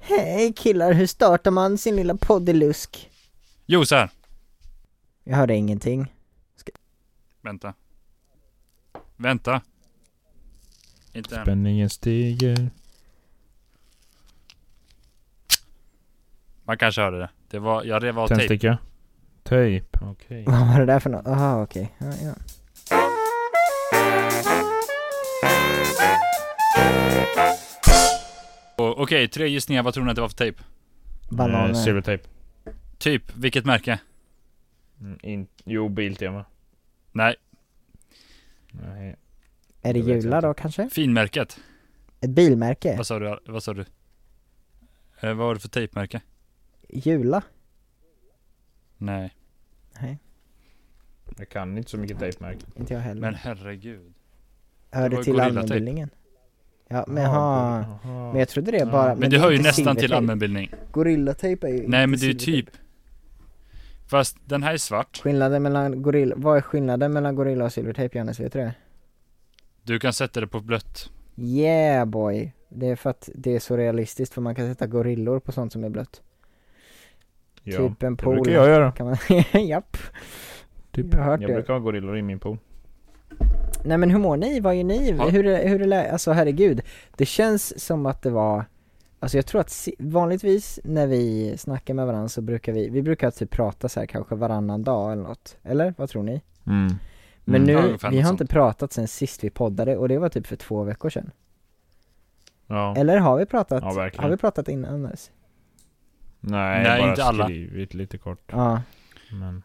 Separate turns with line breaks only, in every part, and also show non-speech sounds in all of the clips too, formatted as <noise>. Hej killar, hur startar man sin lilla poddelusk?
Josar!
Jag hörde ingenting. <laughs>
Vänta. Vänta. Inte än.
Spänningen stiger.
Man kanske hörde det. Det var, jag rev av tejp.
Tändsticka. Tejp. Eh, Okej.
Vad var det där för något? Aha, okej. Ja, ja.
Och- Okej, tre gissningar. Vad tror ni att det var för tejp?
Bananer.
Eh, silvertejp.
Typ, vilket märke?
Mm, in, jo, Biltema.
Nej,
Nej.
Är det
jag vet
jula
inte.
då kanske?
finmärket.
Ett bilmärke?
Vad sa du? Vad sa du? Eh, vad var det för tejpmärke?
Jula?
Nej.
Nej,
Jag kan inte så mycket tejpmärken.
inte jag heller.
Men herregud.
Hör
det
det
var
till
gorillatejp.
allmänbildningen? Ja, men
Jaha,
ha.
jaha.
Men jag typ- trodde det
Ja.
bara...
Men, det hör
är
ju
inte
nästan till
silvertejp.
allmänbildning.
Gorillatejp är ju
Nej
inte
men det är ju
silvertejp.
typ. Fast den här är svart.
Skillnaden mellan gorilla... Vad är skillnaden mellan gorilla och silvertejp Johannes? Vet du det?
Du kan sätta det på blött.
Yeah boy! Det är för att det är så realistiskt för man kan sätta gorillor på sånt som är blött.
Ja,
typ en
Det
pool.
brukar jag göra.
Kan man... <laughs> Japp.
Typ.
Jag har hört
Jag
det.
brukar ha gorillor i min pool.
Nej men hur mår ni? Vad gör ni?
Ja.
Hur, är- hur är lä- Alltså herregud. Det känns som att det var Alltså jag tror att si- vanligtvis när vi snackar med varandra så brukar vi, vi brukar typ prata så här kanske varannan dag eller något. Eller vad tror ni?
Mm.
Men
Mm.
Ja,
nu,
ungefär
vi
något
har
sånt.
inte pratat sen sist vi poddade och det var typ för två veckor sedan.
Ja.
Eller har vi pratat?
Ja, verkligen.
har vi pratat innan annars?
Nej,
Nej,
bara
inte alla.
skrivit lite kort.
Ja.
Men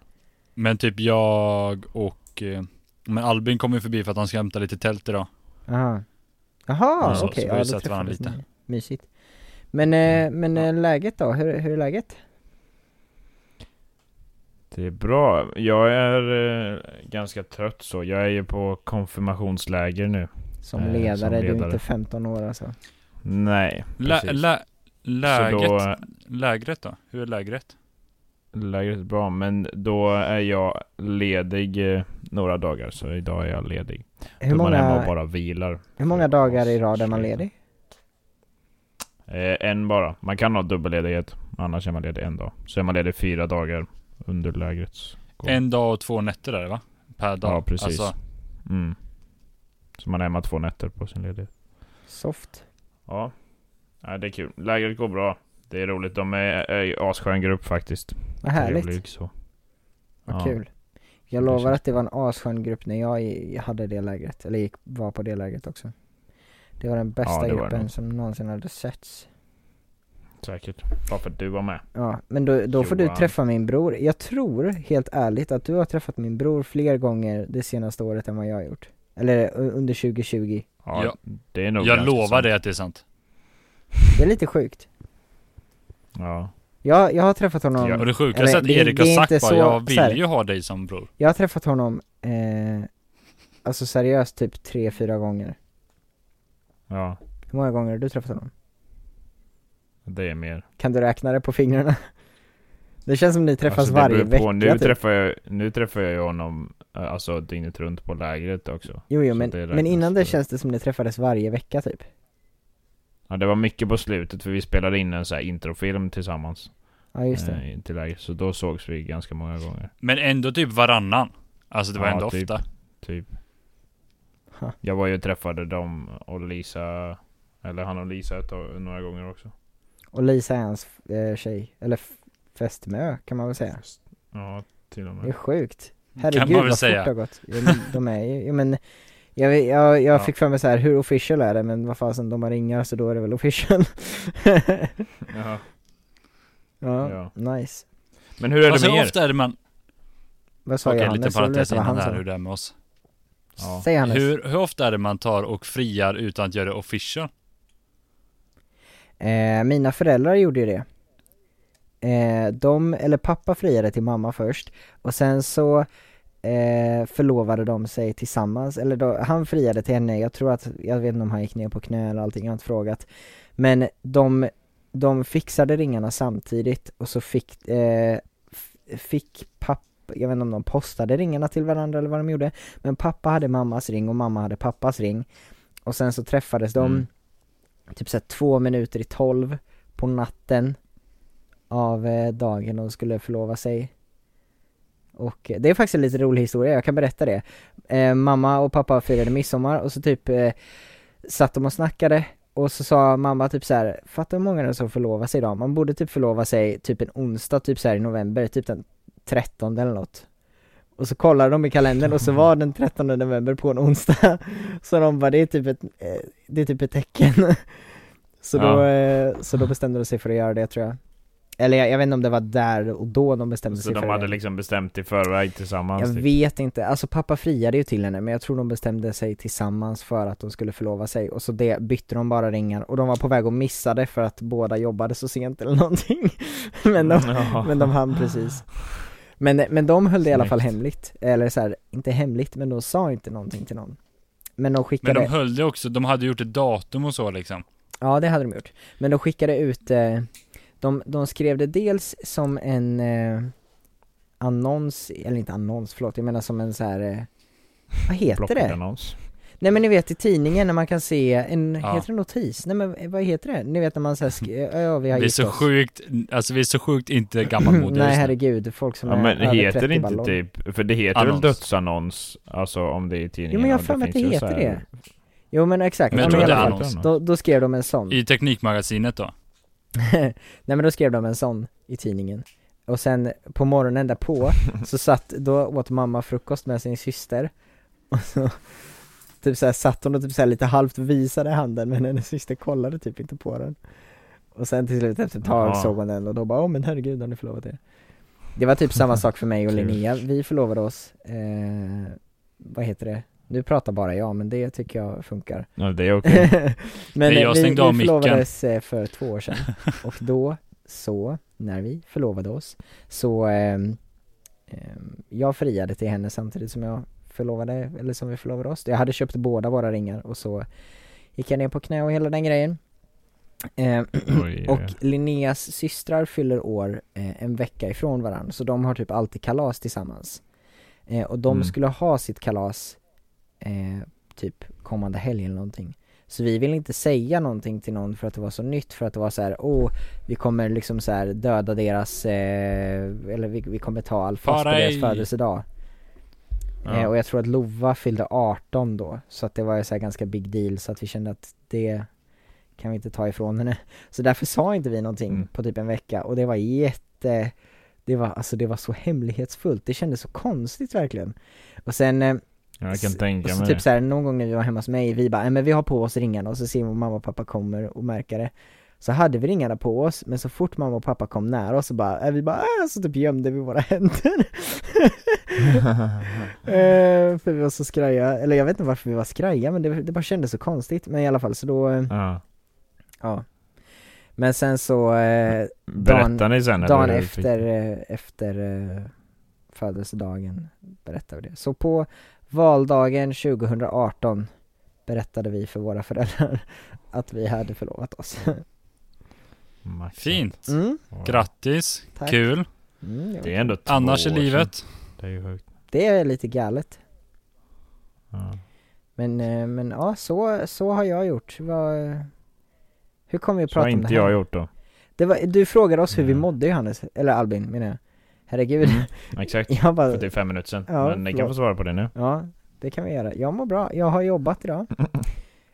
Men typ jag och... eh, Men Albin kom ju förbi för att han ska hämta lite tält idag.
Aha. Jaha,
Ja, så-
okej.
så vi
ja,
har
då
sett varandra
träffades
lite.
ni. Mysigt. Men, eh,
Mm.
men
Ja.
eh, läget då? Hur, hur är läget?
det är bra. Jag är eh, ganska trött så. Jag är ju på konfirmationsläger nu.
Som
Eh, som
ledare, du är
ledare.
inte 15 år alltså.
Nej,
Lä,
precis.
lä, läget,
Så då, eh,
lägret då? Hur är lägret?
lägret är bra. Men då är jag ledig eh, några dagar. Så idag är jag ledig.
Hur
då är man hemma
många,
och bara vilar.
hur många dagar i rad är man ledig?
Eh, en bara. Man kan ha dubbelledighet. Annars är man ledig en dag. Så är man ledig fyra dagar under lägrets gång.
En dag och två nätter där va? Per dag.
Ja, precis.
Alltså,
Mm. Så man är hemma två nätter på sin ledighet.
Soft.
Ja. Nej, det är kul. Lägret går bra. Det är roligt. De är, är asskön grupp faktiskt.
Vad härligt.
Trevlig, så.
Vad
Ja.
kul. Jag
Det
lovar
känns
att det var en asskön grupp när jag i- hade det lägret, eller gick, var på det lägret också. Det var den bästa
det var det
gruppen
nog.
som någonsin hade setts.
Säkert. Bara för att du var med.
Ja, men då, då får du
Johan.
träffa min bror. Jag tror, helt ärligt, att du har träffat min bror fler gånger det senaste året än vad jag har gjort. Eller u- under 2020.
Ja,
Ja.
Det är nog
jag
ganska
lovar
sant.
dig att det är sant.
Det är lite sjukt.
Ja.
Jag, jag har träffat honom
Ja,
Och det
Jag
sjukaste
vet,
är att
det-
Erik
det
har
är
sagt bara
inte så-
jag
så här.
vill ju ha dig som bror.
Jag har träffat honom, eh, alltså seriöst typ tre, fyra gånger.
ja,
Hur många gånger har du träffat honom?
det är mer.
Kan du räkna det på fingrarna? <laughs> Det känns som ni träffas
Alltså, det
varje
beror
vecka
på. Nu,
typ.
träffar jag, nu träffar jag ju honom eh, alltså dygnet runt på lägret också.
Jo, jo
så
men,
det räknas
men innan det
för-
känns det som ni träffades varje vecka typ.
Ja, det var mycket på slutet för vi spelade in en så här introfilm tillsammans.
Ja just det.
eh, till lägret. Så då sågs vi ganska många gånger.
Men ändå typ varannan. Alltså det var
Ja,
ändå
typ.
ofta.
Typ.
Ha.
Jag var ju och träffade dem och Lisa, eller han och Lisa ett tag, några gånger också.
Och Lisa är hans eh, tjej, eller f- fästmö kan man väl säga.
Ja, till och
Det är
med.
sjukt.
kan
Herregud
man väl
vad fort det har
säga.
gått. Jo, men De är ju, jo, men jag, vet- jag, jag
<laughs> Ja.
fick för mig så här, hur official är det? Men vad fasen, de har ringar så då är det väl official. <laughs>
Jaha.
ja,
Ja.
nice.
Men hur är det
Alltså
med
hur
er?
ofta är det man...
Vad sa
Okej, en
Johannes?
liten
Sa du att
parentes
det var
innan
han
det här
som-
hur det är med oss.
Ja.
Säg Hannes.
Hur, hur ofta är det man tar och friar utan att göra det official?
Eh, mina föräldrar gjorde ju det. Eh, de, eller pappa friade till mamma först och sen så eh, förlovade de sig tillsammans, eller då, han friade till henne, jag tror att, jag vet inte om han gick ner på knä eller allting, jag har inte frågat. Men de, de fixade ringarna samtidigt och så fick, eh, f- fick pappa jag vet inte om de postade ringarna till varandra eller vad de gjorde Men pappa hade mammas ring och mamma hade pappas ring Och sen så träffades de
Mm.
Typ såhär två minuter i tolv på natten av eh, dagen hon skulle förlova sig. Och eh, det är faktiskt en lite rolig historia, jag kan berätta det. Eh, mamma och pappa firade midsommar och så typ eh, satt de och snackade och så sa mamma typ så här, fattar hur många det är som förlovar sig idag? Man borde typ förlova sig typ en onsdag typ så här i november, typ den 13 eller något. Och så kollade de i kalendern och så var den 13 november på en onsdag. <laughs> Så de bara, det är typ ett, eh, det är typ ett tecken. <laughs> Så då,
Ja.
eh, så då bestämde de sig för att göra det tror jag. Eller jag, jag vet inte om det var där och då de bestämde
Så
sig
de
för
hade
det.
liksom bestämt i förväg tillsammans?
Jag
typ.
vet inte, alltså pappa friade ju till henne men jag tror de bestämde sig tillsammans för att de skulle förlova sig och så det bytte de bara ringar och de var på väg att missa det för att båda jobbade så sent eller någonting <laughs> Men de,
Ja.
men de hann precis Men, men de höll det i alla fall
Snyggt.
hemligt, eller så här, inte hemligt men de sa inte någonting till någon Men de
Men
skickade,
de höll det också, de hade gjort ett datum och så liksom.
ja det hade de gjort Men de skickade ut, eh, de, de skrev det dels som en eh, annons, eller inte annons, förlåt, jag menar som en så här eh, vad heter det?
Blockannons.
Nej men ni vet i tidningen när man kan se en,
Ja.
heter det notis? Nej men eh, vad heter det? Ni vet när man såhär,
<laughs>
sk- ja vi har
Vi är
gift
så
oss. <clears throat>
sjukt, alltså vi är så
<laughs>
sjukt inte gammalmodiga
Nej
just nu.
herregud, folk som
Ja,
är
men
över
heter
30
det inte
ballong.
typ, för det heter
Annons.
väl dödsannons? Alltså om det är i tidningen?
Jo men jag har
och
för mig att det
finns ju
heter
så här-
det. Jo men exakt,
Men jag
ja,
tror
men i
det är
alla fall.
annons.
då, då skrev de en sån.
I Teknikmagasinet då.
Nej men då skrev de en sån i tidningen. Och sen på morgonen därpå,
<laughs>
så satt, då åt mamma frukost med sin syster. Och så typ såhär satt hon och typ såhär lite halvt visade handen men hennes syster kollade typ inte på den. Och sen till slut efter ett tag
Jaha.
såg hon den och då bara åh men herregud har ni förlovat er? Det var typ samma sak för mig och
Kul.
Linnea, vi förlovade oss, eh, vad heter det? Nu pratar bara jag men det tycker jag funkar
Ja, det är okej.
<laughs> men eh,
Nej, jag
vi, vi
stängde av micken.
förlovades eh, för två år
<laughs>
sedan och då så, när vi förlovade oss, så ehm, ehm, jag friade till henne samtidigt som jag förlovade, eller som vi förlovade oss. Jag hade köpt båda våra ringar och så gick jag ner på knä och hela den grejen. Ehm,
Oj,
och Linneas systrar fyller år eh, en vecka ifrån varandra, så de har typ alltid kalas tillsammans. Eh, och de
Mm.
skulle ha sitt kalas eh, typ kommande helg eller någonting. Så vi ville inte säga någonting till någon för att det var så nytt, för att det var så här: oh, vi kommer liksom så här döda deras, eh, eller vi, vi kommer ta all fast på deras
Paraj.
födelsedag. Eh,
ja.
och jag tror att Lova fyllde 18 då, så att det var ju så här ganska big deal så att vi kände att det kan vi inte ta ifrån henne. Så därför sa inte vi någonting
Mm.
på typ en vecka och det var jätte, det var alltså det var så hemlighetsfullt, det kändes så konstigt verkligen. Och sen, eh,
Jag
s-
kan tänka
och så
mig
typ
det.
så här, någon gång när vi var hemma hos mig, vi bara, "Nej, men vi har på oss ringarna och så ser vi om mamma och pappa kommer och märker det. Så hade vi ringarna på oss, men så fort mamma och pappa kom nära oss så bara, äh, vi bara, äh, så typ gömde vi våra <laughs> händer. Eh, för vi var så skraja, eller jag vet inte varför vi var skraja men det, det bara kändes så konstigt, men i alla fall så då, eh,
Ja.
ja Men sen så, eh,
Berättar ni sen? eller
dagen
hur fick-
efter, eh, efter eh, födelsedagen berättade vi det Så på valdagen 2018 berättade vi för våra föräldrar <laughs> att vi hade förlovat oss
Maxat.
Fint.
mm,
Wow.
Grattis,
Tack.
kul.
mm, det,
Det
var-
är ändå två
Annars i
år sedan.
livet.
Det är ju sjukt.
det är lite galet
Ja.
Men, eh, men ja, så, så har jag gjort, Vad, hur kommer vi att
Så har
prata om det
inte
här?
jag gjort då.
Det var, du frågade oss hur vi
Mm.
mådde Johannes, eller Albin menar jag Herregud,
Exakt.
<laughs> jag bara,
För det är fem minuter sedan.
Ja,
Men ni kan
förlåt.
få svara på det nu.
ja det kan vi göra. Jag mår bra, jag har jobbat
<laughs>
idag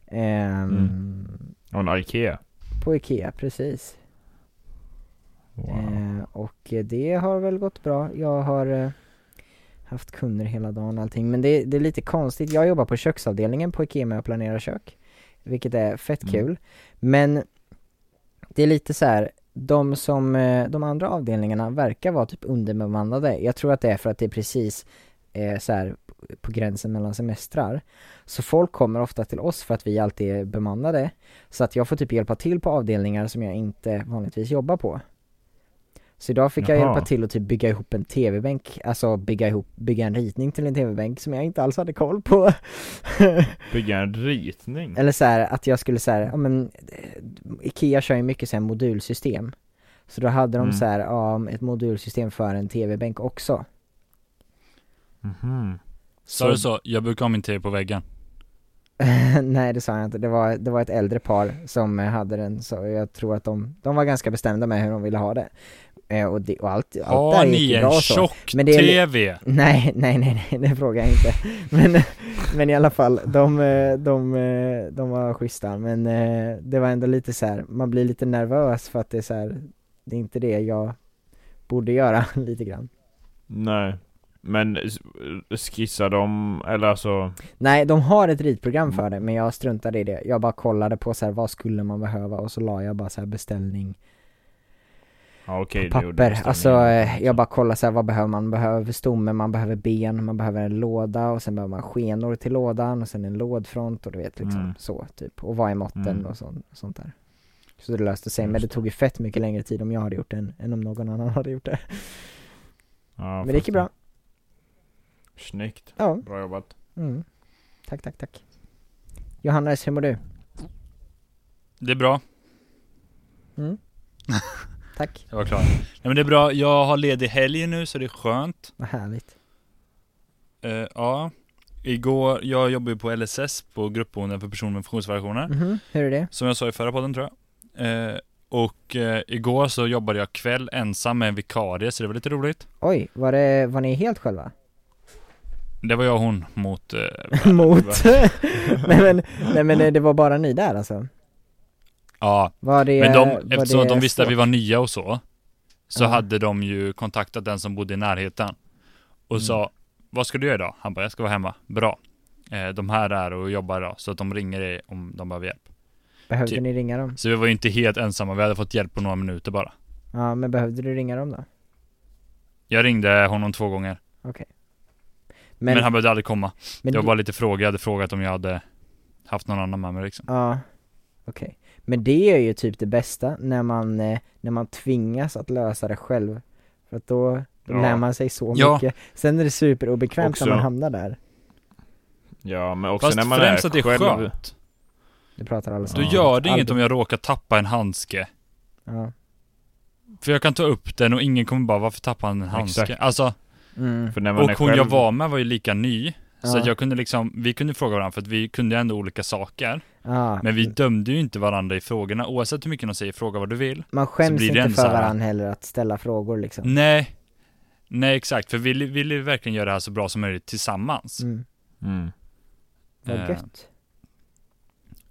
Ehm,
Mm. Och en Ikea.
På Ikea, precis
Wow.
Ehm, Och eh, det har väl gått bra, jag har eh, haft kunder hela dagen och allting Men det, det är lite konstigt, jag jobbar på köksavdelningen på Ikea med att planera kök Vilket är fett
Mm.
kul Men det är lite så här. de som, eh, de andra avdelningarna verkar vara typ underbemannade. Jag tror att det är för att det är precis eh, så här på gränsen mellan semestrar. Så folk kommer ofta till oss för att vi alltid är bemannade. Så att jag får typ hjälpa till på avdelningar som jag inte vanligtvis jobbar på. Så idag fick jag
Jaha.
hjälpa till att typ bygga ihop en tv-bänk, alltså bygga ihop, bygga en ritning till en tv-bänk som jag inte alls hade koll på. <laughs>
Bygga en ritning.
Eller så här, att jag skulle så här, ja men eh, Ikea kör ju mycket så här modulsystem Så då hade de
Mm.
så här, ja, ett modulsystem för en tv-bänk också
Mhm.
Sa du så? Jag brukar ha min tv på väggen.
<laughs> Nej det sa jag inte, det var, det var ett äldre par som eh, hade den så jag tror att de, de var ganska bestämda med hur de ville ha det. Eh, och, det och allt, allt
Har
där
ni
gick ju bra
en
och så. Men det är-
tjock-tv?
Nej, nej, nej, nej, det frågar jag inte. <laughs> Men, men i alla fall, de, eh, de, eh, de var schyssta, men eh, det var ändå lite så här, man blir lite nervös för att det är så här, det är inte det jag borde göra <laughs> lite grann.
Nej. Men s- skissar de, eller alltså...
Nej, de har ett ritprogram
Mm.
för det, men jag struntade i det. Jag bara kollade på så här, vad skulle man behöva och så la jag bara så här beställning
Ja okej, du gjorde
papper.
beställningen.
Alltså eh, jag bara kollar så här, vad behöver man? Man behöver stomme, man behöver ben, man behöver en låda och sen behöver man skenor till lådan och sen en lådfront och du vet liksom
Mm.
så typ. Och vad är måtten
Mm.
och sånt, sånt där. Så det löste sig, men
Just
det tog ju fett mycket längre tid om jag hade gjort det än, än om någon annan hade gjort det.
Ja,
men det gick ju bra.
Snyggt.
Ja.
Bra jobbat.
Mm. Tack, tack, tack. Johannes, hur mår du?
Det är bra,
Mm. tack,
jag var klar. Nej men det är bra, jag har ledig helg nu så det är skönt.
vad härligt.
Eh, ja, igår, jag jobbar ju på LSS på gruppboenden för personer med funktionsvariationer.
Mhm, Hur är det?
Som jag sa i förra podden tror jag. Eh, och eh, igår så jobbade jag kväll ensam med en vikarie så det var lite roligt.
Oj, var, det, var ni helt själva?
Det var jag och hon mot...
<laughs>
Eh,
Mot? nej, men, nej men eh, det var bara ni där alltså?
ja,
Var det,
men de,
var
eftersom att
det
de visste att vi
svårt?
var nya och så. Så
Ja.
hade de ju kontaktat den som bodde i närheten. Och
Mm.
sa, vad ska du göra idag? Han bara, jag ska vara hemma. Bra. Eh, de här är och jobbar idag, så att de ringer dig om de behöver hjälp.
Behövde
typ.
ni ringa dem?
Så vi var ju inte helt ensamma, vi hade fått hjälp på några minuter bara.
Ja, men behövde du ringa dem då?
Jag ringde honom två gånger, men,
Men,
han behövde aldrig komma.
men
det var
du-
bara lite frågor, jag hade frågat om jag hade haft någon annan med mig liksom.
Ja, okej. Men det är ju typ det bästa, när man, eh, när man tvingas att lösa det själv. För att då, då
Ja.
lär man sig så
Ja.
mycket. Sen är det superobekvämt
Också.
när man hamnar där.
Ja men också
Fast
när man
främst
är
att det är
själv.
skönt.
Det pratar alla som
Då
Ja.
gör det inget
Albin.
om jag råkar tappa en handske.
Ja.
För jag kan ta upp den och ingen kommer bara, varför tappade han en handske?
Exakt.
Alltså,
Mm.
För när man
och
är
hon
själv,
jag var med var ju lika ny.
Ja.
Så att jag kunde liksom, vi kunde fråga varandra för att vi kunde ju ändå olika saker.
Ja.
Men vi dömde ju inte varandra i frågorna, oavsett hur mycket de säger, fråga vad du vill.
Man skäms
blir det
inte
en så
för
här- Mm.
varandra heller att ställa frågor liksom.
Nej, nej exakt, för vi li- ville ju verkligen göra det här så bra som möjligt tillsammans.
Mm.
Mm.
Vad
Eh,
gött.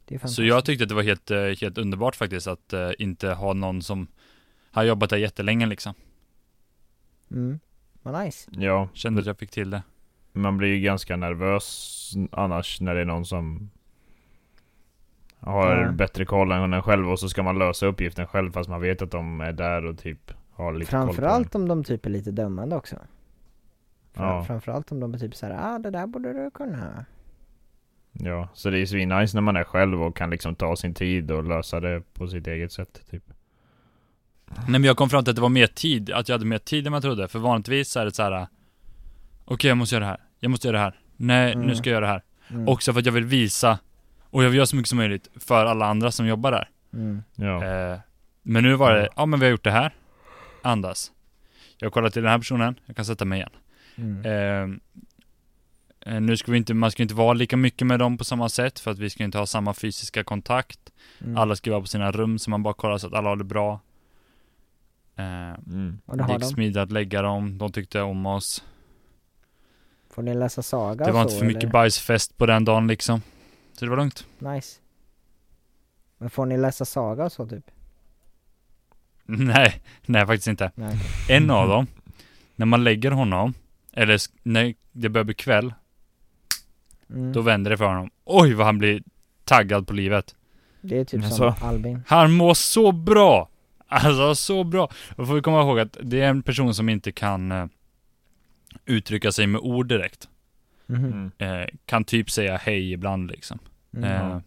Det är
Så
fantastiskt.
jag tyckte att det var helt, eh, helt underbart faktiskt att eh, inte ha någon som har jobbat där jättelänge liksom.
Mm. Vad nice.
Ja,
Kände att jag fick till det.
man blir ju ganska nervös annars när det är någon som har
Ja.
bättre koll än en själv och så ska man lösa uppgiften själv fast man vet att de är där och typ har lite koll på den.
Framförallt om de typ är lite dömande också. Fram,
Ja.
Framförallt om de är typ såhär, ah det där borde du kunna.
Ja, så det är svinnice när man är själv och kan liksom ta sin tid och lösa det på sitt eget sätt typ.
Nej men jag kom fram till att det var mer tid, att jag hade mer tid än man trodde. För vanligtvis så är det så här. Okej jag måste göra det här, jag måste göra det här. Nej
Mm.
nu ska jag göra det här.
Mm.
Också för att jag vill visa och jag vill göra så mycket som möjligt för alla andra som jobbar där.
Mm.
Ja.
Eh, men nu var det,
Ja.
ja men vi har gjort det här. Andas. Jag kollar till den här personen, jag kan sätta mig igen.
Mm.
Ehm, Eh, nu ska vi inte, man ska inte vara lika mycket med dem på samma sätt för att vi ska inte ha samma fysiska kontakt.
Mm.
Alla ska vara på sina rum så man bara kollar så att alla har det bra. Eh,
Mm.
Och det
det
har
gick
de.
smidigt att lägga dem, de tyckte om oss.
Får ni läsa saga
det
och
var
så,
inte för mycket
eller?
bajsfest på den dagen liksom. Så det var lugnt. <laughs>
Nice. Men får ni läsa saga och så typ?
Nej, nej faktiskt inte.
Nej. okej.
En av dem, när man lägger honom, eller sk- när det börjar bli kväll,
Mm.
då vänder det för honom. Oj vad han blir taggad på livet.
Det är typ
Men
som
så-
Albin.
Han mår så bra! Alltså så bra! Då får vi komma ihåg att det är en person som inte kan eh, uttrycka sig med ord direkt.
Mhm.
Mm.
Eh, kan typ säga hej ibland liksom.
Mm.
Eh,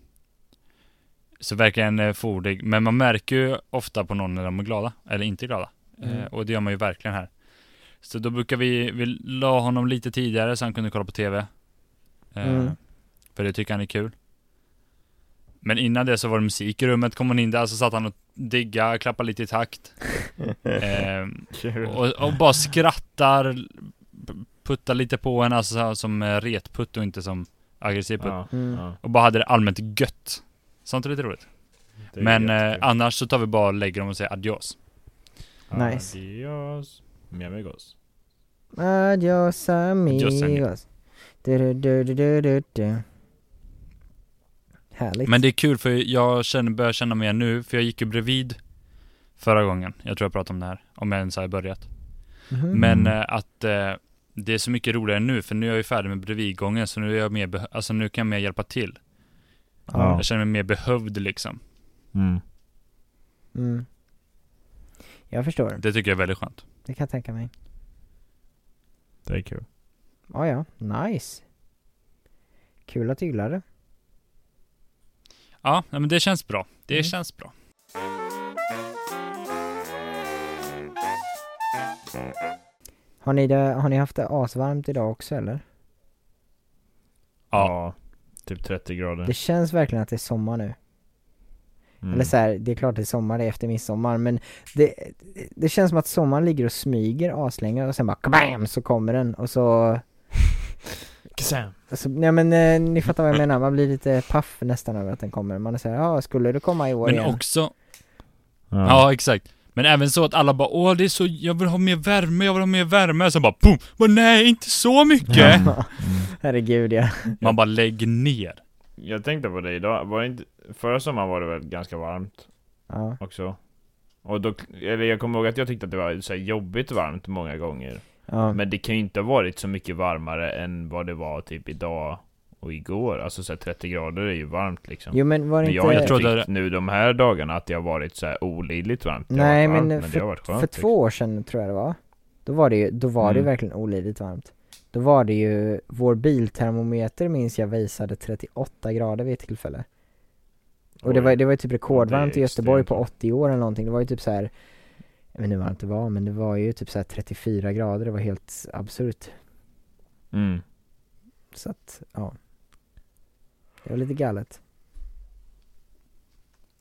så verkligen eh, fordig. Men man märker ju ofta på någon när de är glada, eller inte glada. Eh,
Mm.
och det gör man ju verkligen här. Så då brukar vi, vi la honom lite tidigare så han kunde kolla på TV. Eh,
Mm.
För det tycker han är kul. Men innan det så var det musik i rummet, kom hon in där så satt han och digga, klappade lite
<laughs>
i takt. eh, och, och bara skrattar, p- puttar lite på henne, alltså så här som eh, retputt och inte som aggressiv putt.
Ja,
Mm.
ja.
Och bara hade det allmänt gött. Sånt är lite roligt.
Det är
Men eh,
jättekul.
annars så tar vi bara och lägger dem och säger adios.
Nice.
Adios. Mjamigos.
Adios
Adios,
amigos. Du, du, du, du, du, du. Härligt.
Men det är kul för jag känner, börjar känna mer nu, för jag gick ju bredvid förra gången. Jag tror jag pratade om det här, om jag ens har börjat.
Mhm.
Men
Mm.
eh, att eh, det är så mycket roligare nu, för nu är jag ju färdig med bredvidgången, så nu, är jag mer beh- alltså, nu kan jag mer hjälpa till.
Ja.
Jag känner mig mer behövd liksom.
Mm.
Mm. Jag förstår.
Det tycker jag är väldigt skönt.
Det kan jag tänka mig.
Det är kul.
Ja, ja. Nice. Kul att du gillar det.
Ja, nej, men det känns bra. Det
Mm.
känns bra.
Har ni, det, har ni haft det asvarmt idag också eller?
Mm.
Ja.
Typ 30 grader.
Det känns verkligen att det är sommar nu.
Mm.
Eller så här, det är klart det är sommar, det är efter midsommar men det, det känns som att sommaren ligger och smyger aslänge och sen bara kabam så kommer den och så,
Kazam.
så nej men eh, ni fattar vad jag menar, man blir lite paff nästan över att den kommer. Man är såhär, ja skulle du komma i år
Men
igen?
också,
Ja.
ja exakt. Men även så att alla bara åh det är så, jag vill ha mer värme, jag vill ha mer värme. Så bara boom, bara, nej inte så mycket.
Mm.
Herregud ja.
<laughs> Man bara lägg ner.
Jag tänkte på det idag. Var det inte... Förra sommaren var det väl ganska varmt
ja.
också? Och då, eller jag kommer ihåg att jag tyckte att det var så här jobbigt varmt många gånger.
Ja,
Men det kan ju inte ha varit så mycket varmare än vad det var typ idag och igår. Alltså så här 30 grader är ju varmt liksom.
jo men var det inte,
Men jag har inte
Jag trodde-
tyckt nu de här dagarna att det har varit så här olidligt varmt. Det har
Nej,
varit varmt,
men
det har varit skönt,
för
liksom.
två år sedan tror jag det var, då var det ju, då var det
Mm.
verkligen olidligt varmt. Då var det ju, vår biltermometer minns jag visade 38 grader vid ett tillfälle. Och det
Oj.
var, det var ju typ rekordvarmt
det är
i Göteborg på
extremt.
80 år eller någonting, det var ju typ så här. jag vet inte hur varmt det var men det var ju typ så här 34 grader, det var helt absurt.
Mm.
Så att, ja. Det var lite galet.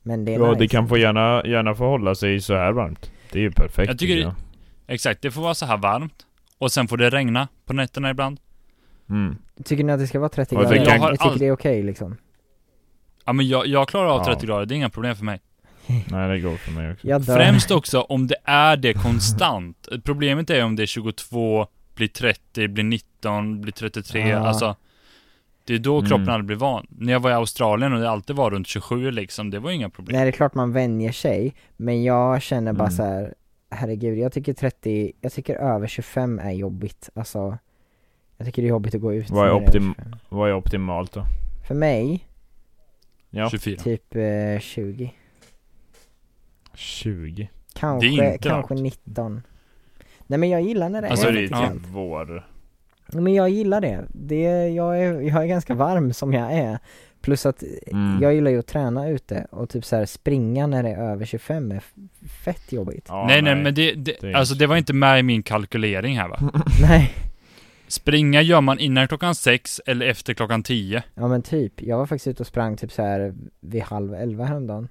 Men det är
Ja,
nice.
det kan få gärna, gärna få hålla sig så här varmt. Det är ju perfekt.
Jag tycker
jag.
Exakt, det får vara så här varmt. Och sen får det regna på nätterna ibland.
Mm.
Tycker ni att det ska vara 30
Och det
grader?
kan-
Jag,
Jag har
tycker
all-
det är okej liksom.
Ja men jag, jag klarar av
Ja.
30 grader, det är inga problem för mig.
Nej, det går för mig också.
Jag dör.
Främst också om det är det konstant. <laughs> Problemet är om det är 22, blir 30, blir 19, blir 33,
Ja.
alltså. Det är då kroppen
Mm.
aldrig blir van. När jag var i Australien och det alltid var runt 27 liksom, det var inga problem.
Nej det är klart man vänjer sig, men jag känner bara
Mm.
så här. herregud jag tycker 30, jag tycker över 25 är jobbigt, alltså Jag tycker det är jobbigt att gå ut
Vad är
när det över
optim-
25.
Vad är optimalt då?
För mig,
Ja.
24.
typ eh, 20
20.
Kanske,
inte
kanske 19 Nej men jag gillar när det
Alltså,
är
det är-
30
ja.
kallt.
typ vår.
Nej, Men jag gillar det, det jag, är, jag är ganska varm som jag är Plus att eh,
Mm.
jag gillar ju att träna ute och typ så här springa när det är över 25 är f- fett jobbigt
Ja,
nej, nej men det, det,
Det är Mm.
alltså det var inte med i min kalkylering här va.
<laughs> Nej,
Springa gör man innan klockan 6 eller efter klockan 10.
Ja men typ, jag var faktiskt ute och sprang typ så här vid halv elva häromdagen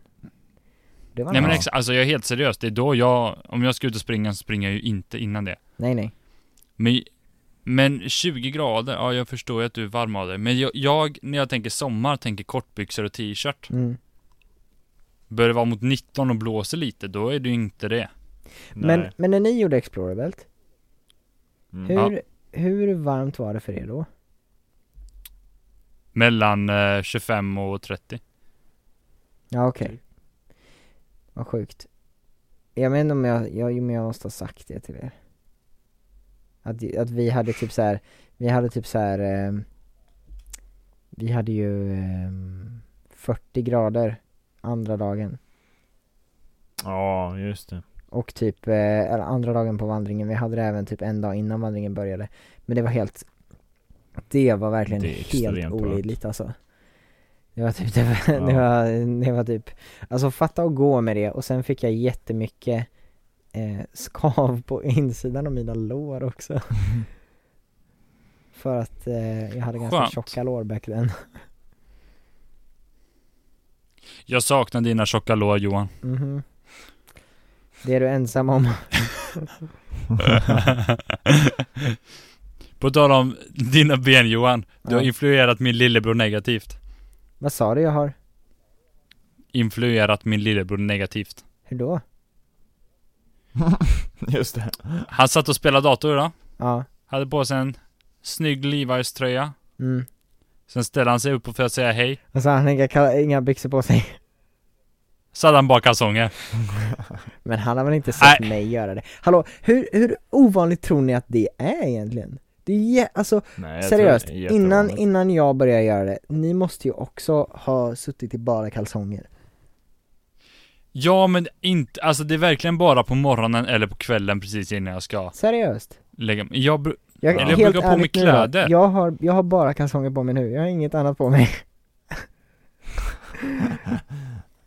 det
Ah.
var
Nej men
nice.
exa, alltså jag är helt seriös, det är då jag, om jag ska ut och springa så springer jag ju inte innan det.
Nej nej,
Men, men 20 grader, ja jag förstår ju att du är varm av dig. Men jag, jag, när jag tänker sommar, tänker kortbyxor och t-shirt.
mm.
Börjar det vara mot 19 och blåser lite, då är det ju inte det.
men, men när ni gjorde Explorer Belt,
Mm.
hur, hur varmt var det för er då?
Mellan eh, 25 och 30.
Ja okej Vad sjukt Jag vet inte om jag, jag, jo, men jag måste ha sagt det till er Att, att vi hade typ så här, vi hade typ så här. ehm, Vi hade ju ehm, 40 grader andra dagen
Ja,
<laughs>
just det.
Och typ, eh, eller andra dagen på vandringen, vi hade det även typ en dag innan vandringen började Men det var helt Det var verkligen
Det är
helt
extremt varmt.
olidligt alltså Det var typ, det var,
Ja.
det, var, det var typ Alltså fatta att gå med det och sen fick jag jättemycket eh, skav på insidan av mina lår
<laughs>
också För att eh, jag hade ganska
Skönt.
tjocka lår back then
Jag saknar dina tjocka lår Johan.
Mhm. Det är du ensam om
Men På tal om dina ben Johan. Du har
Ja.
influerat min lillebror negativt.
Vad sa du jag har?
Influerat min lillebror negativt.
Hur då?
Just det.
Han satt och spelade dator idag.
Ja,
Hade på sig en snygg Levi's tröja.
mm.
Sen ställde han sig upp för att säga hej.
Och så har Alltså, han inga, kalla- inga byxor på sig. <laughs>
Så hade han bara kalsonger.
Men han har väl inte sett
Nej.
mig göra det? Hallå, hur, hur ovanligt tror ni att det är egentligen? Det är jä- alltså
Nej, jag tror
seriöst,
det är
innan,
jättevanligt.
innan jag började göra det, ni måste ju också ha suttit i bara kalsonger.
Ja men inte, alltså det är verkligen bara på morgonen eller på kvällen precis innan jag ska
Seriöst?
lägga mig. Jag, bru-
Jag,
Eller
jag brukar ha på mig
ärligt nu då,
kläder.
jag har, jag har bara kalsonger på mig nu, jag har inget annat på
<laughs>
mig.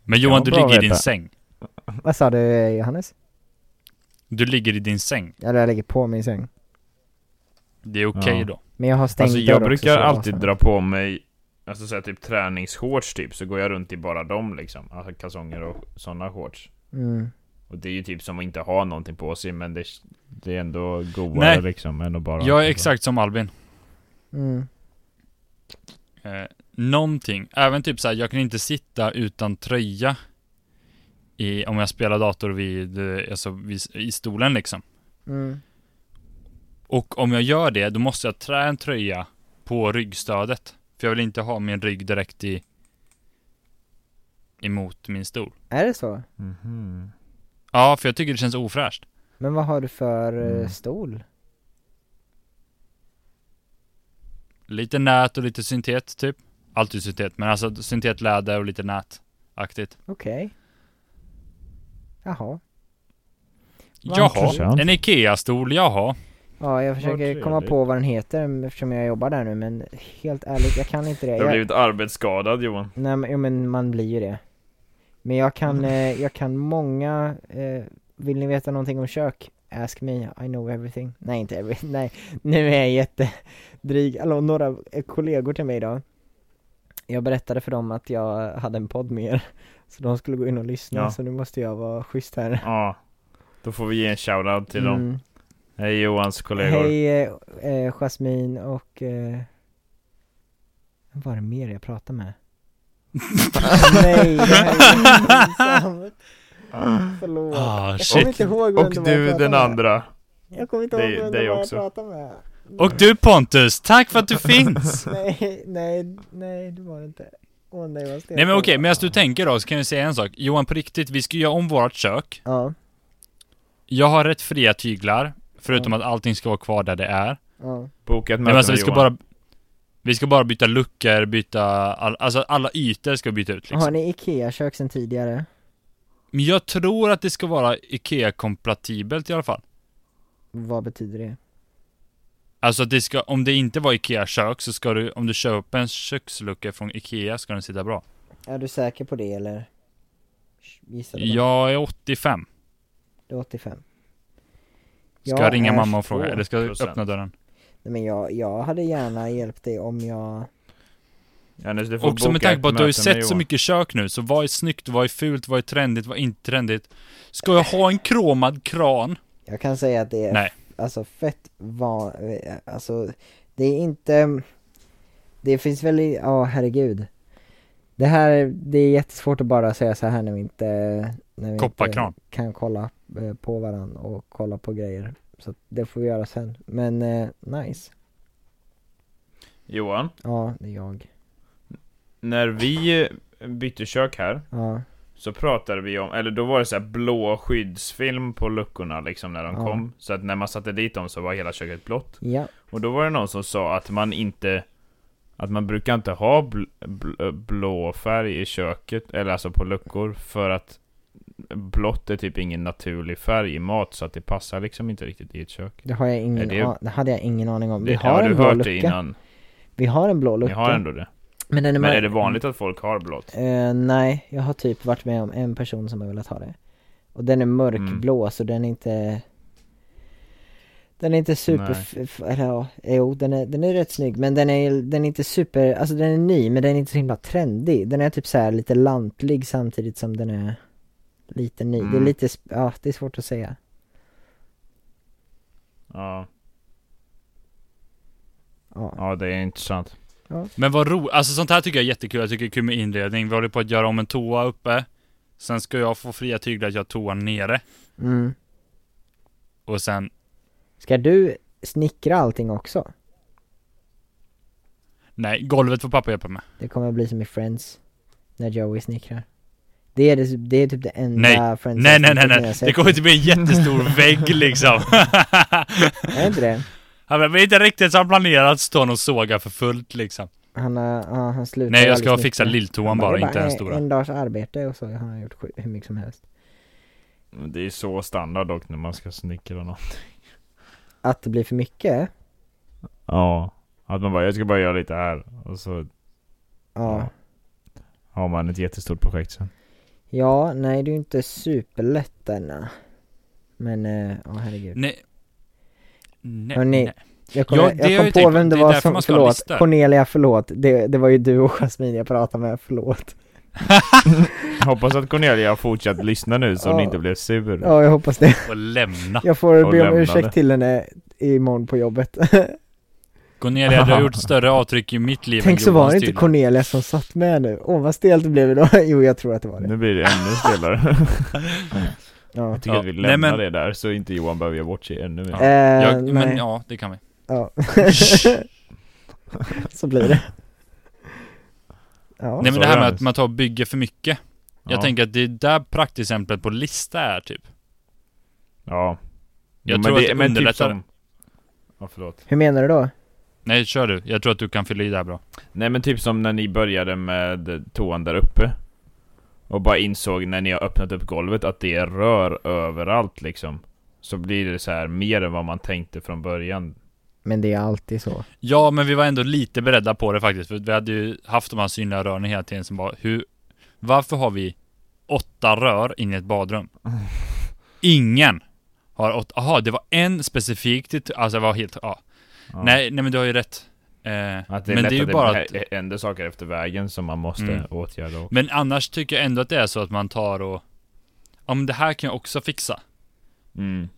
men Johan
Ja,
du
bra
ligger i
att
din
veta.
säng.
Vad sa du eh, Johannes?
Du ligger i din säng.
Eller jag ligger på min säng.
Det är okej
Ja.
då.
Men jag har stängt
Alltså jag
dörr också,
brukar
så det var
alltid
så.
dra på mig, alltså så här, typ träningsshorts typ, så går jag runt i bara dem liksom. Alltså kalsonger och sådana shorts.
Mm.
Och det är ju typ som att inte ha någonting på sig, men det, det är ändå godare
Nej.
liksom än att bara...
Jag är exakt som Albin.
Mm.
eh, någonting. Även typ såhär, jag kan inte sitta utan tröja i, om jag spelar dator vid, eh, alltså vid, i stolen liksom.
Mm.
Och om jag gör det, då måste jag trä en tröja på ryggstödet. För jag vill inte ha min rygg direkt i emot min stol.
Är det så?
Mhm.
Ja, för jag tycker det känns ofräscht.
Men vad har du för eh,
Mm.
stol?
Lite nät och lite syntet typ. Alltid syntet, men alltså syntetläder och lite nätaktigt.
Okej. Jaha. Vad
Jaha,
intressant.
en IKEA-stol, jaha.
Ja, jag försöker
trevligt.
komma på vad den heter men eftersom jag jobbar där nu men helt ärligt, jag kan inte det.
Du har
Jag,
blivit arbetsskadad Johan.
nej men, jo, men man blir ju det. Men jag
Mm.
kan, eh, jag kan många, eh, vill ni veta någonting om kök? Ask me, I know everything. Nej inte everything, <laughs> nej. Nu är jag jättedryg. Alltså några eh, kollegor till mig idag. Jag berättade för dem att jag hade en podd med er. Så de skulle gå in och lyssna,
Ja.
så nu måste jag vara schysst här.
Ja. Då får vi ge en shoutout till dem.
Mm.
Hej Johans kollegor.
Hej eh, eh, Jasmine och... Eh, vad var det mer jag pratade <laughs> med? Nej, det här är pinsamt. Förlåt.
Ah,
jag
shit.
kommer inte ihåg vem
Och
det var jag
du
pratade
den
med.
andra.
Jag kommer inte ihåg
dig-
vem det
dig
var jag
också.
pratade med.
Och du Pontus, tack för <laughs> att du finns!
Nej, nej, nej det var det inte. Åh nej vad stelt.
Nej men okej, medan du tänker då så kan jag säga en sak. Johan på riktigt, vi ska göra om vårt kök.
Ja,
Jag har rätt fria tyglar, förutom att allting ska vara kvar där det är.
ja.
Boka ett
Men
möte
alltså vi
med
ska
Johan.
bara... Vi ska bara byta luckor, byta... All, alltså alla ytor ska vi byta ut
Har
liksom.
ni IKEA-kök sen tidigare?
Men jag tror att det ska vara IKEA-kompatibelt i alla fall.
Vad betyder det?
Alltså att det ska, om det inte var IKEA-kök så ska du, om du köper en kökslucka från IKEA ska den sitta bra.
Är du säker på det eller? Gissade bara.
Jag är 85.
Du är 85.
Ska
Jag
jag ringa
är
mamma och fråga,
22.
eller ska jag
22%.
öppna dörren?
Nej men jag, jag hade gärna hjälpt dig om jag,
Johannes, du får
Och som med
boka
tanke på
ett
att du har ju
möte med
sett så
Johan.
mycket kök nu, så vad är snyggt, vad är fult, vad är trendigt, vad är inte trendigt? Ska jag ha en kromad kran?
jag kan säga att det är
Nej.
alltså fett van, alltså det är inte, det finns väl, i- ja herregud. Det här, det är jättesvårt att bara säga så här när vi inte, när vi
Kopparkran.
inte kan kolla eh, på varandra och kolla på grejer. Så att det får vi göra sen. Men eh, nice.
Johan,
Ja, det är jag.
när vi eh, bytte kök här,
Ja,
så pratade vi om, eller då var det så här blå skyddsfilm på luckorna liksom när de
Ja.
kom. Så att när man satte dit dem så var hela köket blått.
ja,
Och då var det någon som sa att man inte, att man brukar inte ha bl bl eh, blå färg i köket, eller alltså på luckor, för att blått är typ ingen naturlig färg i mat så att det passar liksom inte riktigt i ett kök.
det har jag ingen,
det-
an- det hade jag ingen aning om. Vi
Det-
har
ja,
en
du
blå
hört det
lucka.
innan.
Vi har en blå
Ni
lucka.
har ändå det.
Men, den är
Men
mar-
är det vanligt att folk har blått?
Eh, nej, jag har typ varit med om en person som har velat ha det. Och den är mörkblå
Mm.
så den är inte Den är inte super,
Nej.
f- f- eller ja, jo den är, den är rätt snygg men den är, den är inte super, alltså den är ny men den är inte så himla trendig. Den är typ så här lite lantlig samtidigt som den är lite ny. Det är
Mm.
lite, sp- ja det är svårt att säga.
Ja.
Ja.
Ja, det är intressant.
Men vad roligt, alltså sånt här tycker jag är jättekul, jag tycker det är kul med inredning. Vi håller på att göra om en toa uppe. Sen ska jag få fria tyglar att göra toan nere.
Mm.
Och sen,
Ska du snickra allting också?
nej, golvet får pappa hjälpa med.
Det kommer bli som i Friends, när Joey snickrar. Det är, det, det är typ det enda
Nej.
Friends
Nej, nej, nej,
avsnittet jag
nej.
sett.
Det kommer inte bli en
<laughs>
jättestor vägg liksom. <laughs>
Är det inte det?
Han bara, "Men inte riktigt som planerat, står han och sågar för fullt liksom.
Han, har, ja, han slutar
Nej,
ju
jag ska
aldrig
fixa
snickra.
lilltoan
Han
bara,
det är
inte den
en-
stora.
En dags arbete och så har han gjort sju- hur mycket som helst.
Det är så standard dock när man ska snickra något.
Att det blir för mycket?
Ja. Att man bara, jag ska bara göra lite här. Och så
Ja.
Ja. har man ett jättestort projekt sen.
Ja, nej det är ju inte superlätt denna. Men, eh, ja herregud.
Nej. Nej,
Hörni,
nej.
Jag kom,
Ja, det
jag
har jag
kom
ju
på
tänkt på.
vem det
Det är
var
därför
som,
man ska ha en
förlåt,
lista.
Cornelia förlåt, det, det var ju du och Jasmin jag pratade med, förlåt.
<laughs> Hoppas att Cornelia har fortsatt lyssna nu så hon
Ja.
inte blev sur.
Ja, jag hoppas det.
Och lämna.
Jag får
Och
be om
lämnade.
ursäkt till henne imorgon på jobbet.
Cornelia, du har gjort större avtryck i mitt liv
<laughs> Tänk
än
så var
Johans
det inte
tydligen.
Cornelia som satt med nu. Åh vad stelt det blev idag. <laughs> Jo, jag tror att det var det.
Nu blir det ännu
<laughs>
stelare.
Ja.
Jag tycker
Ja.
att vi
Nej,
lämnar
men-
det där så inte Johan behöver göra bort sig ännu mer.
Ja.
Eh,
Jag,
nej.
men ja, det kan vi.
Ja. <laughs> så blir det. Ja.
Nej men
så
det här
är
med
det.
att man tar och bygger för mycket. Jag
Ja.
tänker att det är där praktexemplet på lista är typ.
Ja.
Jag
Jo,
tror att det underlättar.
typ som- Ja, förlåt.
Hur menar du då?
Nej, kör du. Jag tror att du kan fylla i det här bra.
Nej men typ som när ni började med toan där uppe. Och bara insåg när ni har öppnat upp golvet att det är rör överallt liksom. Så blir det så här mer än vad man tänkte från början.
Men det är alltid så.
Ja, men vi var ändå lite beredda på det faktiskt. För vi hade ju haft de här synliga rören hela tiden som bara, hur, varför har vi åtta rör in i ett
<laughs>
badrum? Ingen har åtta, aha, det var en specifikt, i- alltså det var helt, ja.
Ja.
Nej, nej men du har ju rätt. Eh,
Att det är
men
lätt
det är ju
att det
bara
bara...
att,
händer saker efter vägen som man måste
Mm.
åtgärda. Och...
men annars tycker jag ändå att det är så att man tar och, ja men det här kan jag också fixa.
Mm.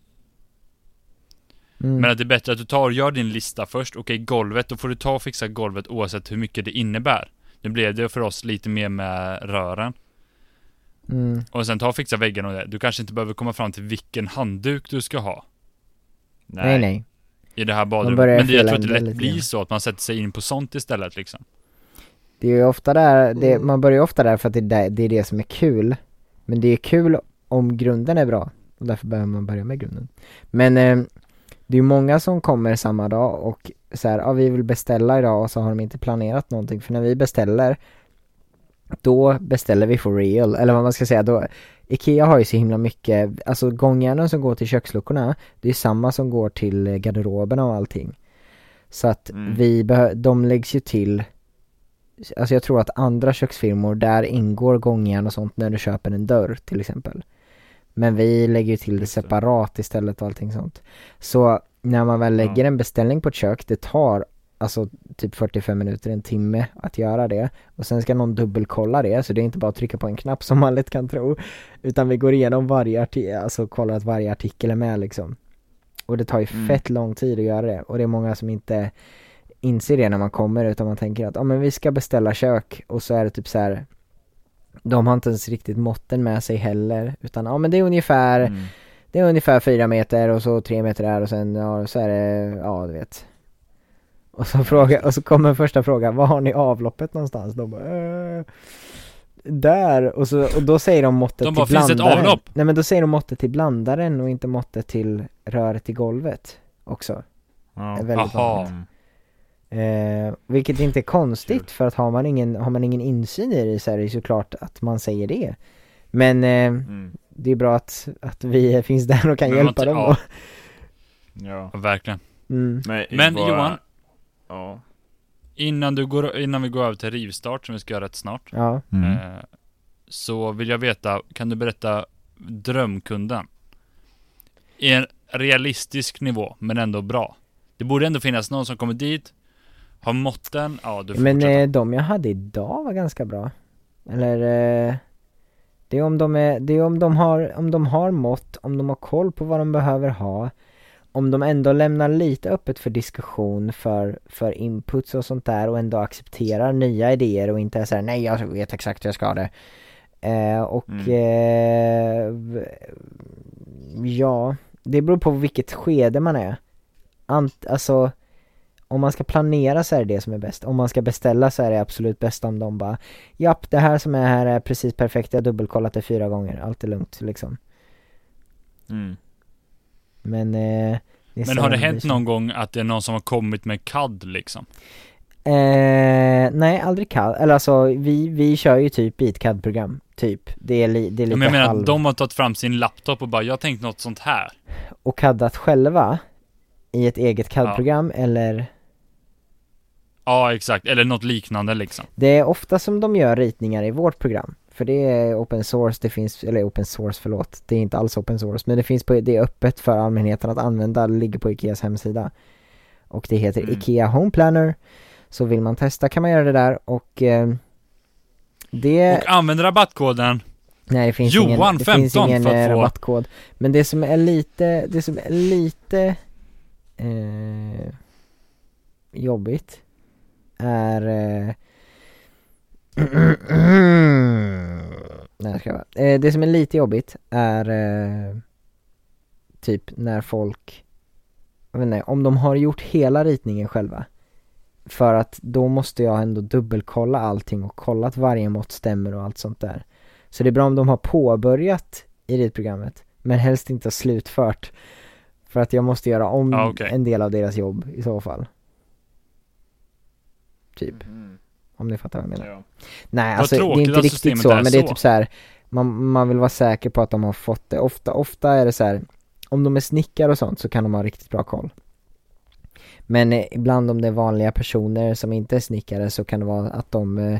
Mm.
Men att det är bättre att du tar och gör din lista först, okej golvet, då får du ta och fixa golvet oavsett hur mycket det innebär. Nu blev det för oss lite mer med rören.
Mm.
Och sen ta och fixa väggen och det. Du kanske inte behöver komma fram till vilken handduk du ska ha
Nej nej.
i det här
Man
badrummet.
börjar
Men det, jag tror att det
fela
lätt
lite
blir
grann.
så att man sätter sig in på sånt istället liksom.
Det är ju ofta där, det, man börjar ju ofta där för att det är det, det är det som är kul. Men det är kul om grunden är bra. Och därför behöver man börja med grunden. Men eh, det är ju många som kommer samma dag och så här, ja vi vill beställa idag och så har de inte planerat någonting. För när vi beställer, då beställer vi for real. Eller vad man ska säga, då, Ikea har ju så himla mycket, alltså gångjärnen som går till köksluckorna, det är samma som går till eh, garderoberna och allting. Så att
Mm.
vi behö- de läggs ju till, alltså jag tror att andra köksfirmor, där ingår gångjärn och sånt när du köper en dörr till exempel. Men vi lägger ju till det
Just det.
separat istället och allting sånt. Så när man väl lägger
Ja.
en beställning på ett kök, det tar alltså typ 45 minuter, en timme att göra det. Och sen ska någon dubbelkolla det, så det är inte bara att trycka på en knapp som man lätt kan tro. Utan vi går igenom varje artikel, alltså kollar att varje artikel är med liksom. Och det tar ju
Mm.
fett lång tid att göra det. Och det är många som inte inser det när man kommer utan man tänker att, ja ah, men vi ska beställa kök och så är det typ så här. De har inte ens riktigt måtten med sig heller utan ja ah, men det är ungefär
Mm.
det är ungefär fyra meter och så tre meter där och sen, ja så är det, ja du vet. Och så, fråga, och så kommer första frågan, var har ni avloppet någonstans? De bara, äh, där! Och, så, och då säger de måttet
De bara,
till
"Finns det
blandaren.
ett avlopp?"
Nej men då säger de måttet till blandaren och inte måttet till röret i golvet också.
Ja.
Är väldigt
Aha.
vanligt.
Mm.
Eh, vilket inte är
Kul.
konstigt för att har man ingen, har man ingen insyn i det så är det ju såklart att man säger det. Men eh,
Mm.
det är bra att, att vi finns där och kan
Men man
hjälpa
inte-
dem
ja.
då.
Ja.
Ja, verkligen.
Mm.
Men,
Men
bara-
Johan,
Ja.
innan, du går, innan vi går över till rivstart som vi ska göra rätt snart.
Ja.
Mm.
Eh, så vill jag veta, kan du berätta drömkunden? I en realistisk nivå, men ändå bra. Det borde ändå finnas någon som kommer dit, har måtten, ja du får
Men
fortsätta.
eh, de jag hade idag var ganska bra. Eller eh, Det är om de är, det är om de har, om de har mått, om de har koll på vad de behöver ha om de ändå lämnar lite öppet för diskussion, för, för inputs och sånt där och ändå accepterar nya idéer och inte är såhär nej jag vet exakt hur jag ska ha det. Eh, och
Mm.
eh,
Mm.
v- ja, det beror på vilket skede man är. Ant, alltså, om man ska planera så är det det som är bäst. Om man ska beställa så är det absolut bäst om de bara Japp, det här som är här är precis perfekt, jag har dubbelkollat det fyra gånger, allt är lugnt liksom.
Mm.
Men, eh, är liksom-
Men har
sällan
det
blir
hänt
så.
någon gång att det är någon som har kommit med CAD liksom?
Eh, nej, aldrig CAD. Eller alltså, vi, vi kör ju typ i ett CAD-program. Typ. Det är, li, det är
Ja,
lite
Men jag menar
halv...
att de har tagit fram sin laptop och bara, jag har tänkt något sånt här.
Och CADat själva i ett eget CAD-program eller
Ja, exakt. Eller något liknande liksom.
Det är ofta som de gör ritningar i vårt program. För det är open source, det finns, eller open source förlåt, det är inte alls open source, men det finns på, det är öppet för allmänheten att använda, det ligger på Ikeas hemsida. Och det heter
Mm.
Ikea Home Planner. Så vill man testa kan man göra det där och eh, det...
Och använd rabattkoden.
Nej det finns
Johan,
ingen, det finns
15
ingen
för att
eh,
få-
rabattkod. Men det som är lite, det som är lite eh, jobbigt är eh, <clears throat> Nej jag skojar bara. eh, Det som är lite jobbigt är eh, typ när folk, jag vet inte, om de har gjort hela ritningen själva för att då måste jag ändå dubbelkolla allting och kolla att varje mått stämmer och allt sånt där. Så det är bra om de har påbörjat i ritprogrammet, men helst inte har slutfört. För att jag måste göra om
Ja, okej.
en del av deras jobb i så fall. Typ, om ni fattar vad jag menar.
Mm. Ja.
Nej, alltså det är
tråkigt
inte
att
riktigt
systemet
så,
är
men det är
så.
typ så här. Man, man vill vara säker på att de har fått det. Ofta, ofta är det så här. om de är snickare och sånt så kan de ha riktigt bra koll. Men eh, ibland om det är vanliga personer som inte är snickare så kan det vara att de eh,